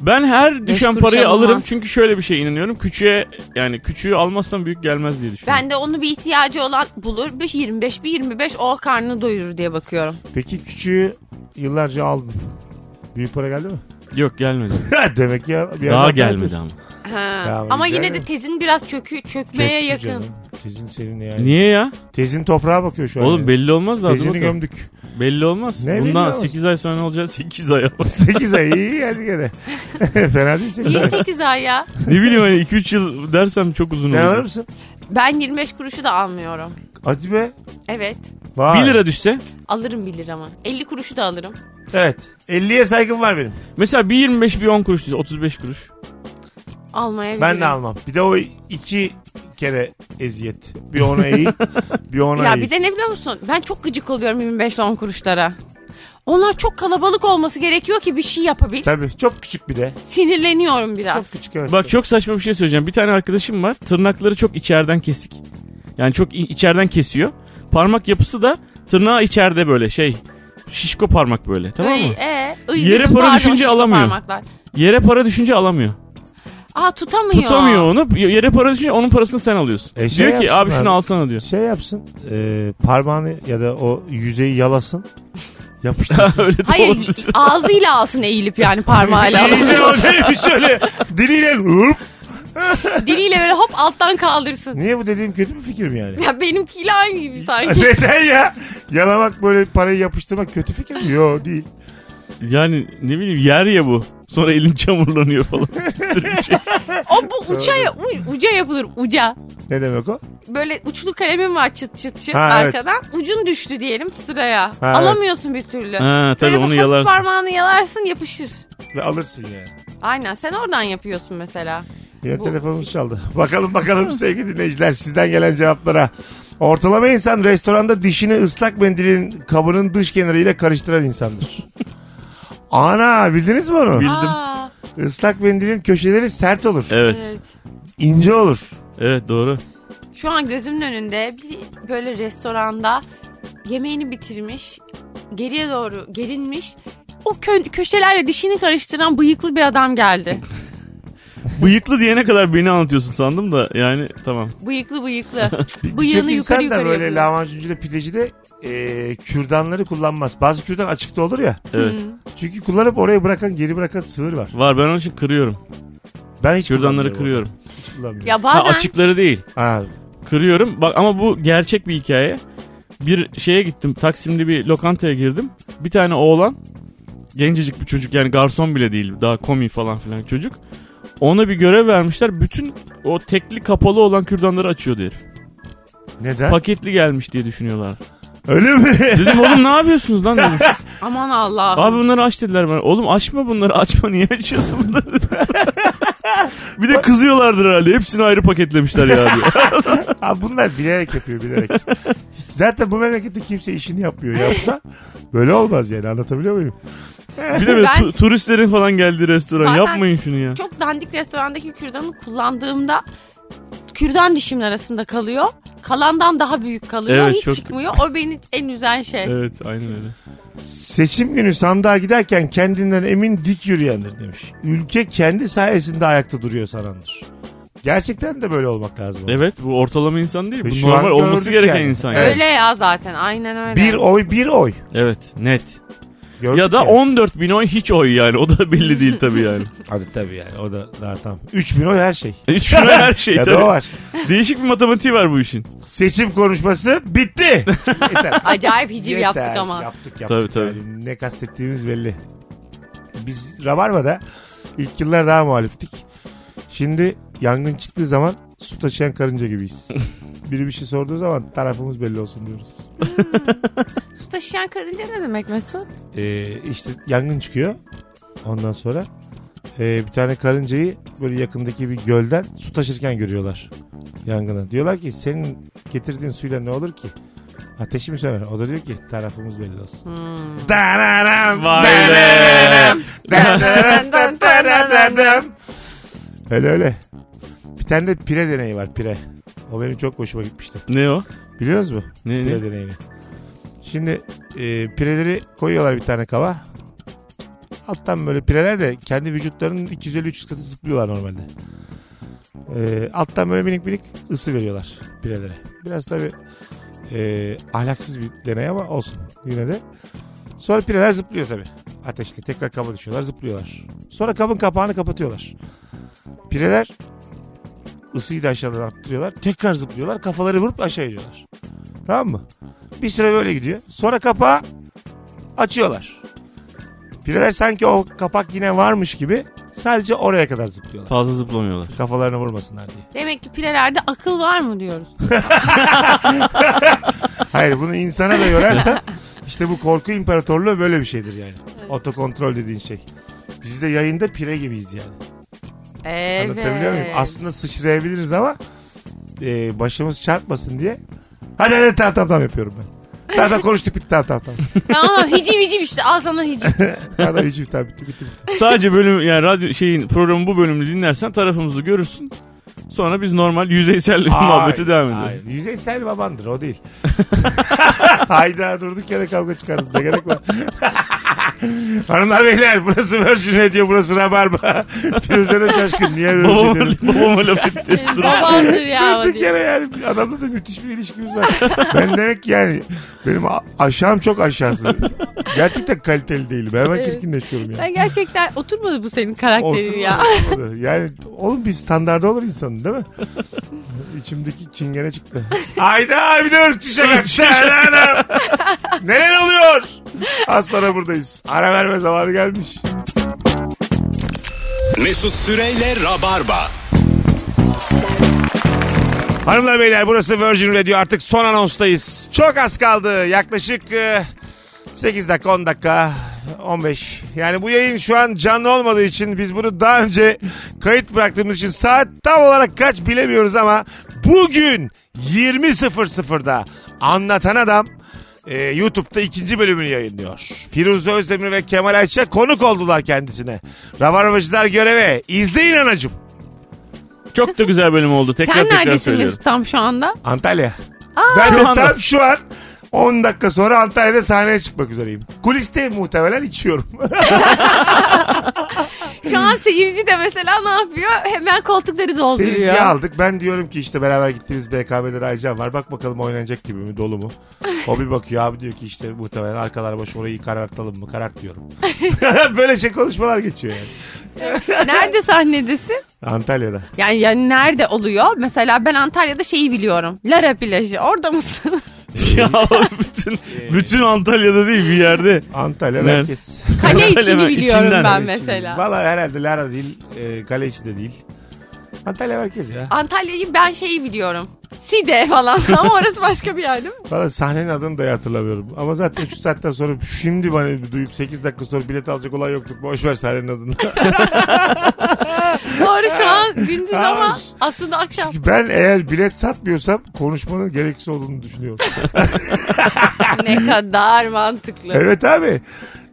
[SPEAKER 4] Ben her düşen
[SPEAKER 3] kuruş
[SPEAKER 4] parayı
[SPEAKER 3] alınmaz.
[SPEAKER 4] alırım çünkü şöyle bir şey inanıyorum. Küçüğe yani küçüğü almazsam büyük gelmez diye düşünüyorum.
[SPEAKER 3] Ben de onu bir ihtiyacı olan bulur. Bir 25 bir 25 o karnını doyurur diye bakıyorum.
[SPEAKER 2] Peki küçüğü yıllarca aldın. Büyük para geldi mi?
[SPEAKER 4] Yok gelmedi.
[SPEAKER 2] Demek ki ya. Bir
[SPEAKER 4] Daha
[SPEAKER 2] yandan
[SPEAKER 4] gelmedi
[SPEAKER 2] yapıyorsun.
[SPEAKER 4] ama.
[SPEAKER 3] Ha.
[SPEAKER 2] Ya,
[SPEAKER 3] Ama
[SPEAKER 2] güzel
[SPEAKER 3] yine de
[SPEAKER 2] ya.
[SPEAKER 3] tezin biraz çökü çökmeye
[SPEAKER 2] Çok
[SPEAKER 3] yakın.
[SPEAKER 2] canım. Tezin senin yani.
[SPEAKER 4] Niye ya?
[SPEAKER 2] Tezin toprağa bakıyor şu an.
[SPEAKER 4] Oğlum
[SPEAKER 2] yani.
[SPEAKER 4] belli olmaz da. hadi
[SPEAKER 2] Tezini
[SPEAKER 4] bakalım.
[SPEAKER 2] gömdük.
[SPEAKER 4] Belli olmaz.
[SPEAKER 2] Ne belli
[SPEAKER 4] Bundan
[SPEAKER 2] olmaz?
[SPEAKER 4] 8 ay sonra ne olacak? 8 ay olmaz.
[SPEAKER 2] 8 ay iyi geldi gene. Fena değil 8
[SPEAKER 3] Niye
[SPEAKER 2] ay.
[SPEAKER 3] 8 ay ya?
[SPEAKER 4] ne bileyim hani 2-3 yıl dersem çok uzun
[SPEAKER 2] Sen alır
[SPEAKER 4] olur.
[SPEAKER 2] mısın?
[SPEAKER 3] Ben 25 kuruşu da almıyorum.
[SPEAKER 2] Hadi be.
[SPEAKER 3] Evet.
[SPEAKER 2] Vay.
[SPEAKER 4] 1 lira düşse.
[SPEAKER 3] Alırım 1 lira ama. 50 kuruşu da alırım.
[SPEAKER 2] Evet. 50'ye saygım var benim.
[SPEAKER 4] Mesela 1 25 bir 10 kuruş düşse 35 kuruş.
[SPEAKER 3] Almayabilirim.
[SPEAKER 2] Ben de almam. Bir de o iki kere eziyet. Bir ona iyi, bir ona
[SPEAKER 3] Ya
[SPEAKER 2] iyi.
[SPEAKER 3] bir de ne biliyor musun? Ben çok gıcık oluyorum 25 10 kuruşlara. Onlar çok kalabalık olması gerekiyor ki bir şey yapabil.
[SPEAKER 2] Tabii çok küçük bir de.
[SPEAKER 3] Sinirleniyorum biraz.
[SPEAKER 2] Çok küçük evet.
[SPEAKER 4] Bak çok saçma bir şey söyleyeceğim. Bir tane arkadaşım var. Tırnakları çok içeriden kesik. Yani çok i- içeriden kesiyor. Parmak yapısı da tırnağı içeride böyle şey. Şişko parmak böyle. Tamam
[SPEAKER 3] Iy,
[SPEAKER 4] mı?
[SPEAKER 3] e, iy
[SPEAKER 4] Yere
[SPEAKER 3] dedim,
[SPEAKER 4] para
[SPEAKER 3] pardon,
[SPEAKER 4] düşünce
[SPEAKER 3] şişko
[SPEAKER 4] alamıyor.
[SPEAKER 3] parmaklar.
[SPEAKER 4] Yere para düşünce alamıyor.
[SPEAKER 3] Aa tutamıyor.
[SPEAKER 4] Tutamıyor onu. Yere para düşünce onun parasını sen alıyorsun.
[SPEAKER 2] E, şey
[SPEAKER 4] diyor ki abi
[SPEAKER 2] yapsın
[SPEAKER 4] şunu
[SPEAKER 2] abi.
[SPEAKER 4] alsana diyor.
[SPEAKER 2] Şey yapsın e, parmağını ya da o yüzeyi yalasın. Yapıştırsın.
[SPEAKER 4] Öyle de
[SPEAKER 3] Hayır
[SPEAKER 4] olabilir.
[SPEAKER 3] ağzıyla alsın eğilip yani parmağıyla.
[SPEAKER 2] İyice o neymiş öyle diliyle hırp.
[SPEAKER 3] Diliyle böyle hop alttan kaldırsın.
[SPEAKER 2] Niye bu dediğim kötü bir fikir mi yani?
[SPEAKER 3] Ya benimkiyle aynı gibi sanki.
[SPEAKER 2] Neden ya? Yalamak böyle parayı yapıştırmak kötü fikir mi? Yok değil.
[SPEAKER 4] Yani ne bileyim yer ya bu. Sonra elin çamurlanıyor falan. Bir sürü bir şey.
[SPEAKER 3] O bu uça, u- uca yapılır uca.
[SPEAKER 2] Ne demek o?
[SPEAKER 3] Böyle uçlu kalemim var çıt çıt çıt
[SPEAKER 2] Ha, evet.
[SPEAKER 3] arkadan. Ucun düştü diyelim sıraya.
[SPEAKER 2] Ha,
[SPEAKER 3] Alamıyorsun bir türlü.
[SPEAKER 4] Ha tabii
[SPEAKER 3] Böyle
[SPEAKER 4] onu
[SPEAKER 3] hafif
[SPEAKER 4] yalarsın.
[SPEAKER 3] parmağını yalarsın yapışır.
[SPEAKER 2] Ve alırsın yani.
[SPEAKER 3] Aynen sen oradan yapıyorsun mesela.
[SPEAKER 2] Yine
[SPEAKER 3] Bu-
[SPEAKER 2] telefonumuz çaldı. Bakalım bakalım sevgili dinleyiciler sizden gelen cevaplara. Ortalama insan restoranda dişini ıslak mendilin kabının dış kenarıyla karıştıran insandır. Ana bildiniz mi onu?
[SPEAKER 4] Bil- Bildim.
[SPEAKER 3] Aa,
[SPEAKER 2] Islak mendilin köşeleri sert olur.
[SPEAKER 4] Evet.
[SPEAKER 3] evet.
[SPEAKER 2] ince olur.
[SPEAKER 4] Evet doğru.
[SPEAKER 3] Şu an gözümün önünde bir böyle restoranda yemeğini bitirmiş, geriye doğru gerilmiş. O kö- köşelerle dişini karıştıran bıyıklı bir adam geldi.
[SPEAKER 4] Bıyıklı diyene kadar beni anlatıyorsun sandım da yani tamam.
[SPEAKER 3] Bıyıklı bıyıklı.
[SPEAKER 2] Bir-
[SPEAKER 3] Bıyığını
[SPEAKER 2] birçok
[SPEAKER 3] yukarı
[SPEAKER 2] insan da
[SPEAKER 3] yukarı
[SPEAKER 2] böyle
[SPEAKER 3] yapıyor.
[SPEAKER 2] lahmacuncu da pideci de e, kürdanları kullanmaz. Bazı kürdan açıkta olur ya.
[SPEAKER 4] Evet.
[SPEAKER 3] Hı.
[SPEAKER 2] Çünkü kullanıp oraya bırakan geri bırakan sığır var.
[SPEAKER 4] Var ben onun için kırıyorum.
[SPEAKER 2] Ben hiç
[SPEAKER 4] Kürdanları
[SPEAKER 2] kullanmıyorum.
[SPEAKER 4] kırıyorum.
[SPEAKER 2] Hiç kullanmıyorum.
[SPEAKER 3] Ya
[SPEAKER 4] Ha
[SPEAKER 3] bazen
[SPEAKER 4] açıkları değil.
[SPEAKER 2] Ha,
[SPEAKER 4] Kırıyorum. Bak ama bu gerçek bir hikaye. Bir şeye gittim. Taksim'de bir lokantaya girdim. Bir tane oğlan gencecik bir çocuk yani garson bile değil daha komi falan filan çocuk. Ona bir görev vermişler. Bütün o tekli kapalı olan kürdanları açıyordu herif.
[SPEAKER 2] neden?
[SPEAKER 4] Paketli gelmiş diye düşünüyorlar.
[SPEAKER 2] Öyle mi?
[SPEAKER 4] Dedim oğlum ne yapıyorsunuz lan dedim.
[SPEAKER 3] aman Allah.
[SPEAKER 4] Abi bunları aç dediler bana. Oğlum açma bunları açma niye açıyorsun bunları? bir de kızıyorlardır herhalde. Hepsini ayrı paketlemişler ya diye.
[SPEAKER 2] Abi bunlar bilerek yapıyor bilerek. Hiç- Zaten bu memlekette kimse işini yapmıyor. Yapsa böyle olmaz yani anlatabiliyor muyum?
[SPEAKER 4] Bir de böyle
[SPEAKER 3] Ben-
[SPEAKER 4] tu- turistlerin falan geldiği restoran.
[SPEAKER 3] Bazen-
[SPEAKER 4] Yapmayın şunu ya.
[SPEAKER 3] Çok dandik restorandaki kürdanı kullandığımda kürdan dişimin arasında kalıyor. Kalandan daha büyük kalıyor.
[SPEAKER 4] Evet,
[SPEAKER 3] Hiç
[SPEAKER 4] çok-
[SPEAKER 3] çıkmıyor. O beni en üzen şey.
[SPEAKER 4] Evet aynen öyle.
[SPEAKER 2] Seçim günü sandığa giderken kendinden emin dik yürüyendir demiş. Ülke kendi sayesinde ayakta duruyor sanandır. Gerçekten de böyle olmak lazım.
[SPEAKER 4] Evet bu ortalama insan değil.
[SPEAKER 2] Ve
[SPEAKER 4] Bu
[SPEAKER 2] şu
[SPEAKER 4] normal
[SPEAKER 2] an
[SPEAKER 4] olması
[SPEAKER 2] gördük
[SPEAKER 4] gereken
[SPEAKER 2] yani.
[SPEAKER 4] insan.
[SPEAKER 2] Evet.
[SPEAKER 4] Evet.
[SPEAKER 3] Öyle ya zaten. Aynen öyle.
[SPEAKER 2] Bir oy bir oy.
[SPEAKER 4] evet net.
[SPEAKER 2] Gördük
[SPEAKER 4] Ya da 14 bin oy hiç oy yani. O da belli değil tabii yani.
[SPEAKER 2] Hadi tabii yani o da daha tam. 3000 oy her şey.
[SPEAKER 4] 3 bin oy her şey
[SPEAKER 2] ya da o
[SPEAKER 4] tabii.
[SPEAKER 2] var.
[SPEAKER 4] Değişik bir matematiği var bu işin.
[SPEAKER 2] Seçim konuşması bitti. Yeter.
[SPEAKER 3] Acayip hiciv
[SPEAKER 2] Yeter.
[SPEAKER 3] yaptık ama.
[SPEAKER 2] Yaptık yaptık.
[SPEAKER 4] Tabii, tabii.
[SPEAKER 2] Yani ne kastettiğimiz belli. Biz Rabarba'da ilk yıllar daha muhaliftik. Şimdi yangın çıktığı zaman su taşıyan karınca gibiyiz. Biri bir şey sorduğu zaman tarafımız belli olsun diyoruz.
[SPEAKER 3] Su taşıyan karınca ne demek Mesut?
[SPEAKER 2] Ee, işte yangın çıkıyor. Ondan sonra ee, bir tane karıncayı böyle yakındaki bir gölden su taşırken görüyorlar yangına. Diyorlar ki senin getirdiğin suyla ne olur ki? Ateşi mi söner? O da diyor ki tarafımız belli olsun.
[SPEAKER 3] Hmm.
[SPEAKER 2] Danaram,
[SPEAKER 4] Vay
[SPEAKER 2] danaram, danaram, danaram. öyle öyle. Bir tane de pire deneyi var pire. O benim çok hoşuma gitmişti.
[SPEAKER 4] Ne o?
[SPEAKER 2] Biliyoruz mu?
[SPEAKER 4] Ne, ne?
[SPEAKER 2] Pire deneyini. Şimdi e, pireleri koyuyorlar bir tane kava. Alttan böyle pireler de kendi vücutlarının 250-300 katı zıplıyorlar normalde. E, alttan böyle minik minik ısı veriyorlar pirelere. Biraz tabi e, ahlaksız bir deney ama olsun yine de. Sonra pireler zıplıyor tabi. Ateşle tekrar kaba düşüyorlar zıplıyorlar. Sonra kabın kapağını kapatıyorlar. Pireler ısıyı da aşağıdan arttırıyorlar. Tekrar zıplıyorlar kafaları vurup aşağı iniyorlar. Tamam mı? Bir süre böyle gidiyor. Sonra kapağı açıyorlar. Pireler sanki o kapak yine varmış gibi sadece oraya kadar zıplıyorlar.
[SPEAKER 4] Fazla zıplamıyorlar.
[SPEAKER 2] Kafalarını vurmasınlar diye.
[SPEAKER 3] Demek ki pirelerde akıl var mı diyoruz.
[SPEAKER 2] Hayır bunu insana da yorarsan işte bu korku imparatorluğu böyle bir şeydir yani. Otokontrol dediğin şey. Biz de yayında pire gibiyiz yani.
[SPEAKER 3] Evet.
[SPEAKER 2] Anlatabiliyor muyum? Aslında sıçrayabiliriz ama e, başımız çarpmasın diye. Hadi hadi tam tam tam yapıyorum ben. Tam tam konuştuk bitti tam tam tam.
[SPEAKER 3] tamam hiciv hiciv işte al sana hiciv.
[SPEAKER 2] Tam tam hiç bitti bitti bitti. bitti.
[SPEAKER 4] Sadece bölüm yani radyo şeyin programın bu bölümünü dinlersen tarafımızı görürsün. Sonra biz normal yüzeysel muhabbeti
[SPEAKER 2] Hayır,
[SPEAKER 4] devam ediyoruz.
[SPEAKER 2] hayır. Yüzeysel babandır o değil. Hayda durduk yere kavga çıkardık. Ne gerek var? Hanımlar beyler burası Virgin Radio burası Rabarba. Firuze'ne şaşkın niye böyle bir şey
[SPEAKER 4] Babama,
[SPEAKER 2] dedim?
[SPEAKER 4] babama laf etti.
[SPEAKER 3] Senin Babandır ya o
[SPEAKER 2] Durduk
[SPEAKER 3] diye.
[SPEAKER 2] yere yani adamla da müthiş bir ilişkimiz var. ben demek ki yani benim a- aşağım çok aşağısı. Gerçekten kaliteli değilim. Ben Hemen
[SPEAKER 3] Evet.
[SPEAKER 2] çirkinleşiyorum yani.
[SPEAKER 3] Ben gerçekten oturmadı bu senin karakterin
[SPEAKER 2] Oturmadı,
[SPEAKER 3] ya.
[SPEAKER 2] oturmadı. Yani oğlum bir standarda olur insanın değil mi? İçimdeki çingene çıktı. Ayda bir de ırkçı şakası. Neler oluyor? Az sonra buradayız. Ara verme zamanı gelmiş.
[SPEAKER 1] Mesut Süreyle Rabarba.
[SPEAKER 2] Hanımlar beyler burası Virgin Radio artık son anonstayız. Çok az kaldı yaklaşık e, 8 dakika 10 dakika 15. Yani bu yayın şu an canlı olmadığı için biz bunu daha önce kayıt bıraktığımız için saat tam olarak kaç bilemiyoruz ama bugün 20.00'da anlatan adam e, YouTube'da ikinci bölümünü yayınlıyor. Firuze Özdemir ve Kemal Ayça konuk oldular kendisine. Rabarbacılar göreve. İzleyin anacım.
[SPEAKER 4] Çok da güzel bölüm oldu. Tekrar
[SPEAKER 3] Sen
[SPEAKER 4] tekrar
[SPEAKER 3] neredesin
[SPEAKER 4] söylüyorum.
[SPEAKER 3] Mesut tam şu anda?
[SPEAKER 2] Antalya. ben
[SPEAKER 4] Şu
[SPEAKER 2] de
[SPEAKER 4] anda.
[SPEAKER 2] tam şu an 10 dakika sonra Antalya'da sahneye çıkmak üzereyim. Kuliste muhtemelen içiyorum.
[SPEAKER 3] Şu an seyirci de mesela ne yapıyor? Hemen koltukları dolduruyor.
[SPEAKER 2] Seyirciyi aldık. Ben diyorum ki işte beraber gittiğimiz BKB'de Aycan var. Bak bakalım oynanacak gibi mi dolu mu? O bir bakıyor abi diyor ki işte muhtemelen arkalar başı orayı karartalım mı? Karart diyorum. Böyle şey konuşmalar geçiyor yani.
[SPEAKER 3] Nerede sahnedesin?
[SPEAKER 2] Antalya'da.
[SPEAKER 3] Yani, yani nerede oluyor? Mesela ben Antalya'da şeyi biliyorum. Lara plajı. Orada mısın?
[SPEAKER 4] Ya bütün, bütün Antalya'da değil bir yerde.
[SPEAKER 2] Antalya
[SPEAKER 4] Nerede?
[SPEAKER 2] merkez.
[SPEAKER 3] Kale
[SPEAKER 4] Kale-
[SPEAKER 3] içini biliyorum
[SPEAKER 4] içinden.
[SPEAKER 3] ben mesela.
[SPEAKER 2] Valla herhalde Lara değil. E, kale içi de değil. Antalya merkez ya.
[SPEAKER 3] Antalya'yı ben şeyi biliyorum. Side falan ama orası başka bir yer değil mi?
[SPEAKER 2] Valla sahnenin adını da hatırlamıyorum. Ama zaten 3 saatten sonra şimdi bana duyup 8 dakika sonra bilet alacak olan yoktuk. Boş ver sahnenin adını.
[SPEAKER 3] Doğru şu an gündüz ama
[SPEAKER 2] Ay.
[SPEAKER 3] aslında akşam.
[SPEAKER 2] Çünkü ben eğer bilet satmıyorsam konuşmanın gereksiz olduğunu düşünüyorum.
[SPEAKER 3] ne kadar mantıklı.
[SPEAKER 2] evet abi.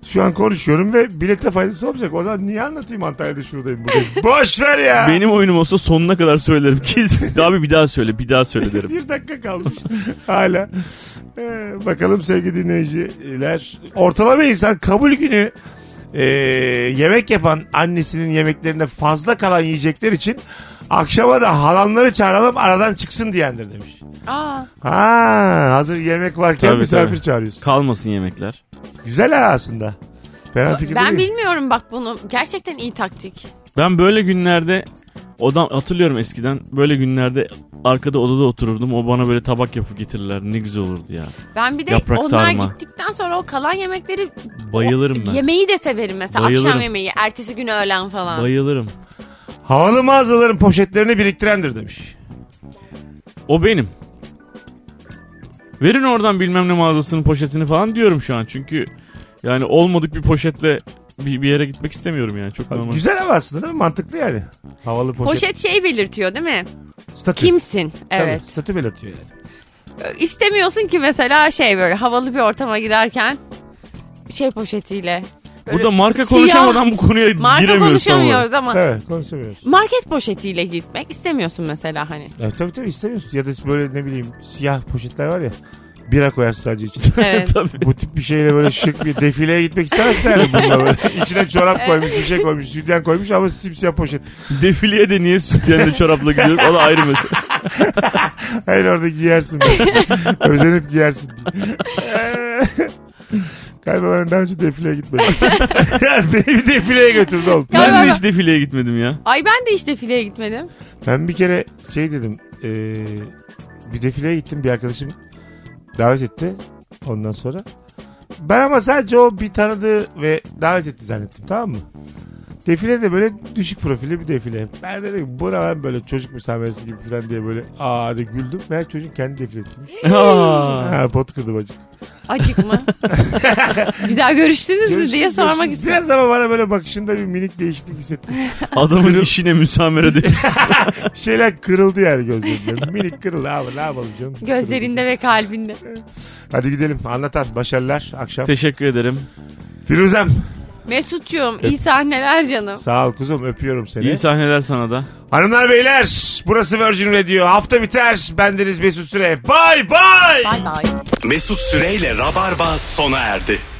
[SPEAKER 2] Şu an konuşuyorum ve bilete faydası olmayacak. O zaman niye anlatayım Antalya'da şuradayım bugün? Boş ver ya.
[SPEAKER 4] Benim oyunum olsa sonuna kadar söylerim. Kesin. Abi bir daha söyle bir daha söyle derim.
[SPEAKER 2] Bir dakika kalmış hala. Ee, bakalım sevgili dinleyiciler. Ortalama insan kabul günü e, yemek yapan annesinin yemeklerinde fazla kalan yiyecekler için akşama da halanları çağıralım aradan çıksın diyendir demiş.
[SPEAKER 3] Aa,
[SPEAKER 2] Ha hazır yemek varken
[SPEAKER 4] Tabii,
[SPEAKER 2] misafir
[SPEAKER 4] tabii.
[SPEAKER 2] çağırıyorsun.
[SPEAKER 4] Kalmasın yemekler.
[SPEAKER 2] Güzel ha aslında. Fena fikir
[SPEAKER 3] ben
[SPEAKER 2] değil.
[SPEAKER 3] bilmiyorum bak bunu. Gerçekten iyi taktik.
[SPEAKER 4] Ben böyle günlerde odam hatırlıyorum eskiden böyle günlerde arkada odada otururdum. O bana böyle tabak yapıp getirirler. Ne güzel olurdu ya.
[SPEAKER 3] Ben bir de
[SPEAKER 4] Yaprak
[SPEAKER 3] onlar
[SPEAKER 4] sarma.
[SPEAKER 3] gittikten sonra o kalan yemekleri
[SPEAKER 4] Bayılırım ben.
[SPEAKER 3] yemeği de severim mesela
[SPEAKER 4] Bayılırım.
[SPEAKER 3] akşam yemeği, ertesi gün öğlen falan.
[SPEAKER 4] Bayılırım.
[SPEAKER 2] Havalı mağazaların poşetlerini biriktirendir demiş.
[SPEAKER 4] O benim. Verin oradan bilmem ne mağazasının poşetini falan diyorum şu an. Çünkü yani olmadık bir poşetle bir, bir yere gitmek istemiyorum yani. Çok
[SPEAKER 2] Ha,
[SPEAKER 4] normal.
[SPEAKER 2] Güzel ama aslında değil mi? Mantıklı yani. Havalı poşet.
[SPEAKER 3] Poşet şey belirtiyor değil mi?
[SPEAKER 2] Statü.
[SPEAKER 3] Kimsin?
[SPEAKER 2] Tabii,
[SPEAKER 3] Evet.
[SPEAKER 2] statü belirtiyor yani.
[SPEAKER 3] İstemiyorsun ki mesela şey böyle havalı bir ortama girerken şey poşetiyle.
[SPEAKER 4] Burada marka
[SPEAKER 3] Siyah-
[SPEAKER 4] konuşamadan bu konuya
[SPEAKER 3] Marka
[SPEAKER 4] giremiyoruz tam olarak.
[SPEAKER 3] konuşamıyoruz ama
[SPEAKER 2] Evet konuşamıyoruz.
[SPEAKER 3] market poşetiyle gitmek istemiyorsun mesela hani.
[SPEAKER 2] E, tabii tabii istemiyorsun. Ya da böyle ne bileyim siyah poşetler var ya. Bira koyarsın sadece içine.
[SPEAKER 3] Evet.
[SPEAKER 4] Tabii.
[SPEAKER 2] Bu tip bir şeyle böyle şık bir defileye gitmek istemezsin yani bununla böyle. İçine çorap koymuş, bir şey koymuş, sütyen koymuş ama simsiyah poşet.
[SPEAKER 4] Defileye de niye sütyenle çorapla gidiyoruz? O da ayrı mesele.
[SPEAKER 2] Hayır orada giyersin. böyle. Özenip giyersin. Galiba ben daha önce defileye gitmedim. Beni bir defileye götürdü oğlum.
[SPEAKER 3] Ya
[SPEAKER 4] Ben
[SPEAKER 3] ben-
[SPEAKER 4] de hiç defileye gitmedim ya.
[SPEAKER 3] Ay ben de hiç defileye gitmedim.
[SPEAKER 2] Ben bir kere şey dedim. e, bir defileye gittim. Bir arkadaşım davet etti. Ondan sonra. Ben ama sadece o bir tanıdığı ve davet etti zannettim. Tamam mı? Defile de böyle düşük profili bir defile. Ben de dedim ki, bu ne lan böyle çocuk müsameresi gibi falan diye böyle aa de güldüm. Meğer çocuğun kendi defilesiymiş.
[SPEAKER 4] Aa.
[SPEAKER 2] Ha, pot kırdı bacım.
[SPEAKER 3] Acık mı? bir daha görüştünüz mü diye
[SPEAKER 2] Görüşürüz,
[SPEAKER 3] sormak
[SPEAKER 2] görüşürüz.
[SPEAKER 3] istedim.
[SPEAKER 2] Biraz ama bana böyle bakışında bir minik değişiklik hissettim.
[SPEAKER 4] Adamın işine müsamere demiş.
[SPEAKER 2] Bir şeyler kırıldı yani gözlerimde. minik kırıldı abi ne yapalım canım.
[SPEAKER 3] Gözlerinde ve kalbinde.
[SPEAKER 2] Hadi gidelim anlatan başarılar akşam.
[SPEAKER 4] Teşekkür ederim.
[SPEAKER 2] Firuzem
[SPEAKER 3] Mesut'cuğum iyi sahneler canım.
[SPEAKER 2] sağ ol kuzum öpüyorum seni.
[SPEAKER 4] İyi sahneler sana da.
[SPEAKER 2] Hanımlar beyler burası Virgin Radio hafta biter bendeniz Mesut Süre bay bay.
[SPEAKER 3] Bay bay.
[SPEAKER 1] Mesut Süreyle Rabarba sona erdi.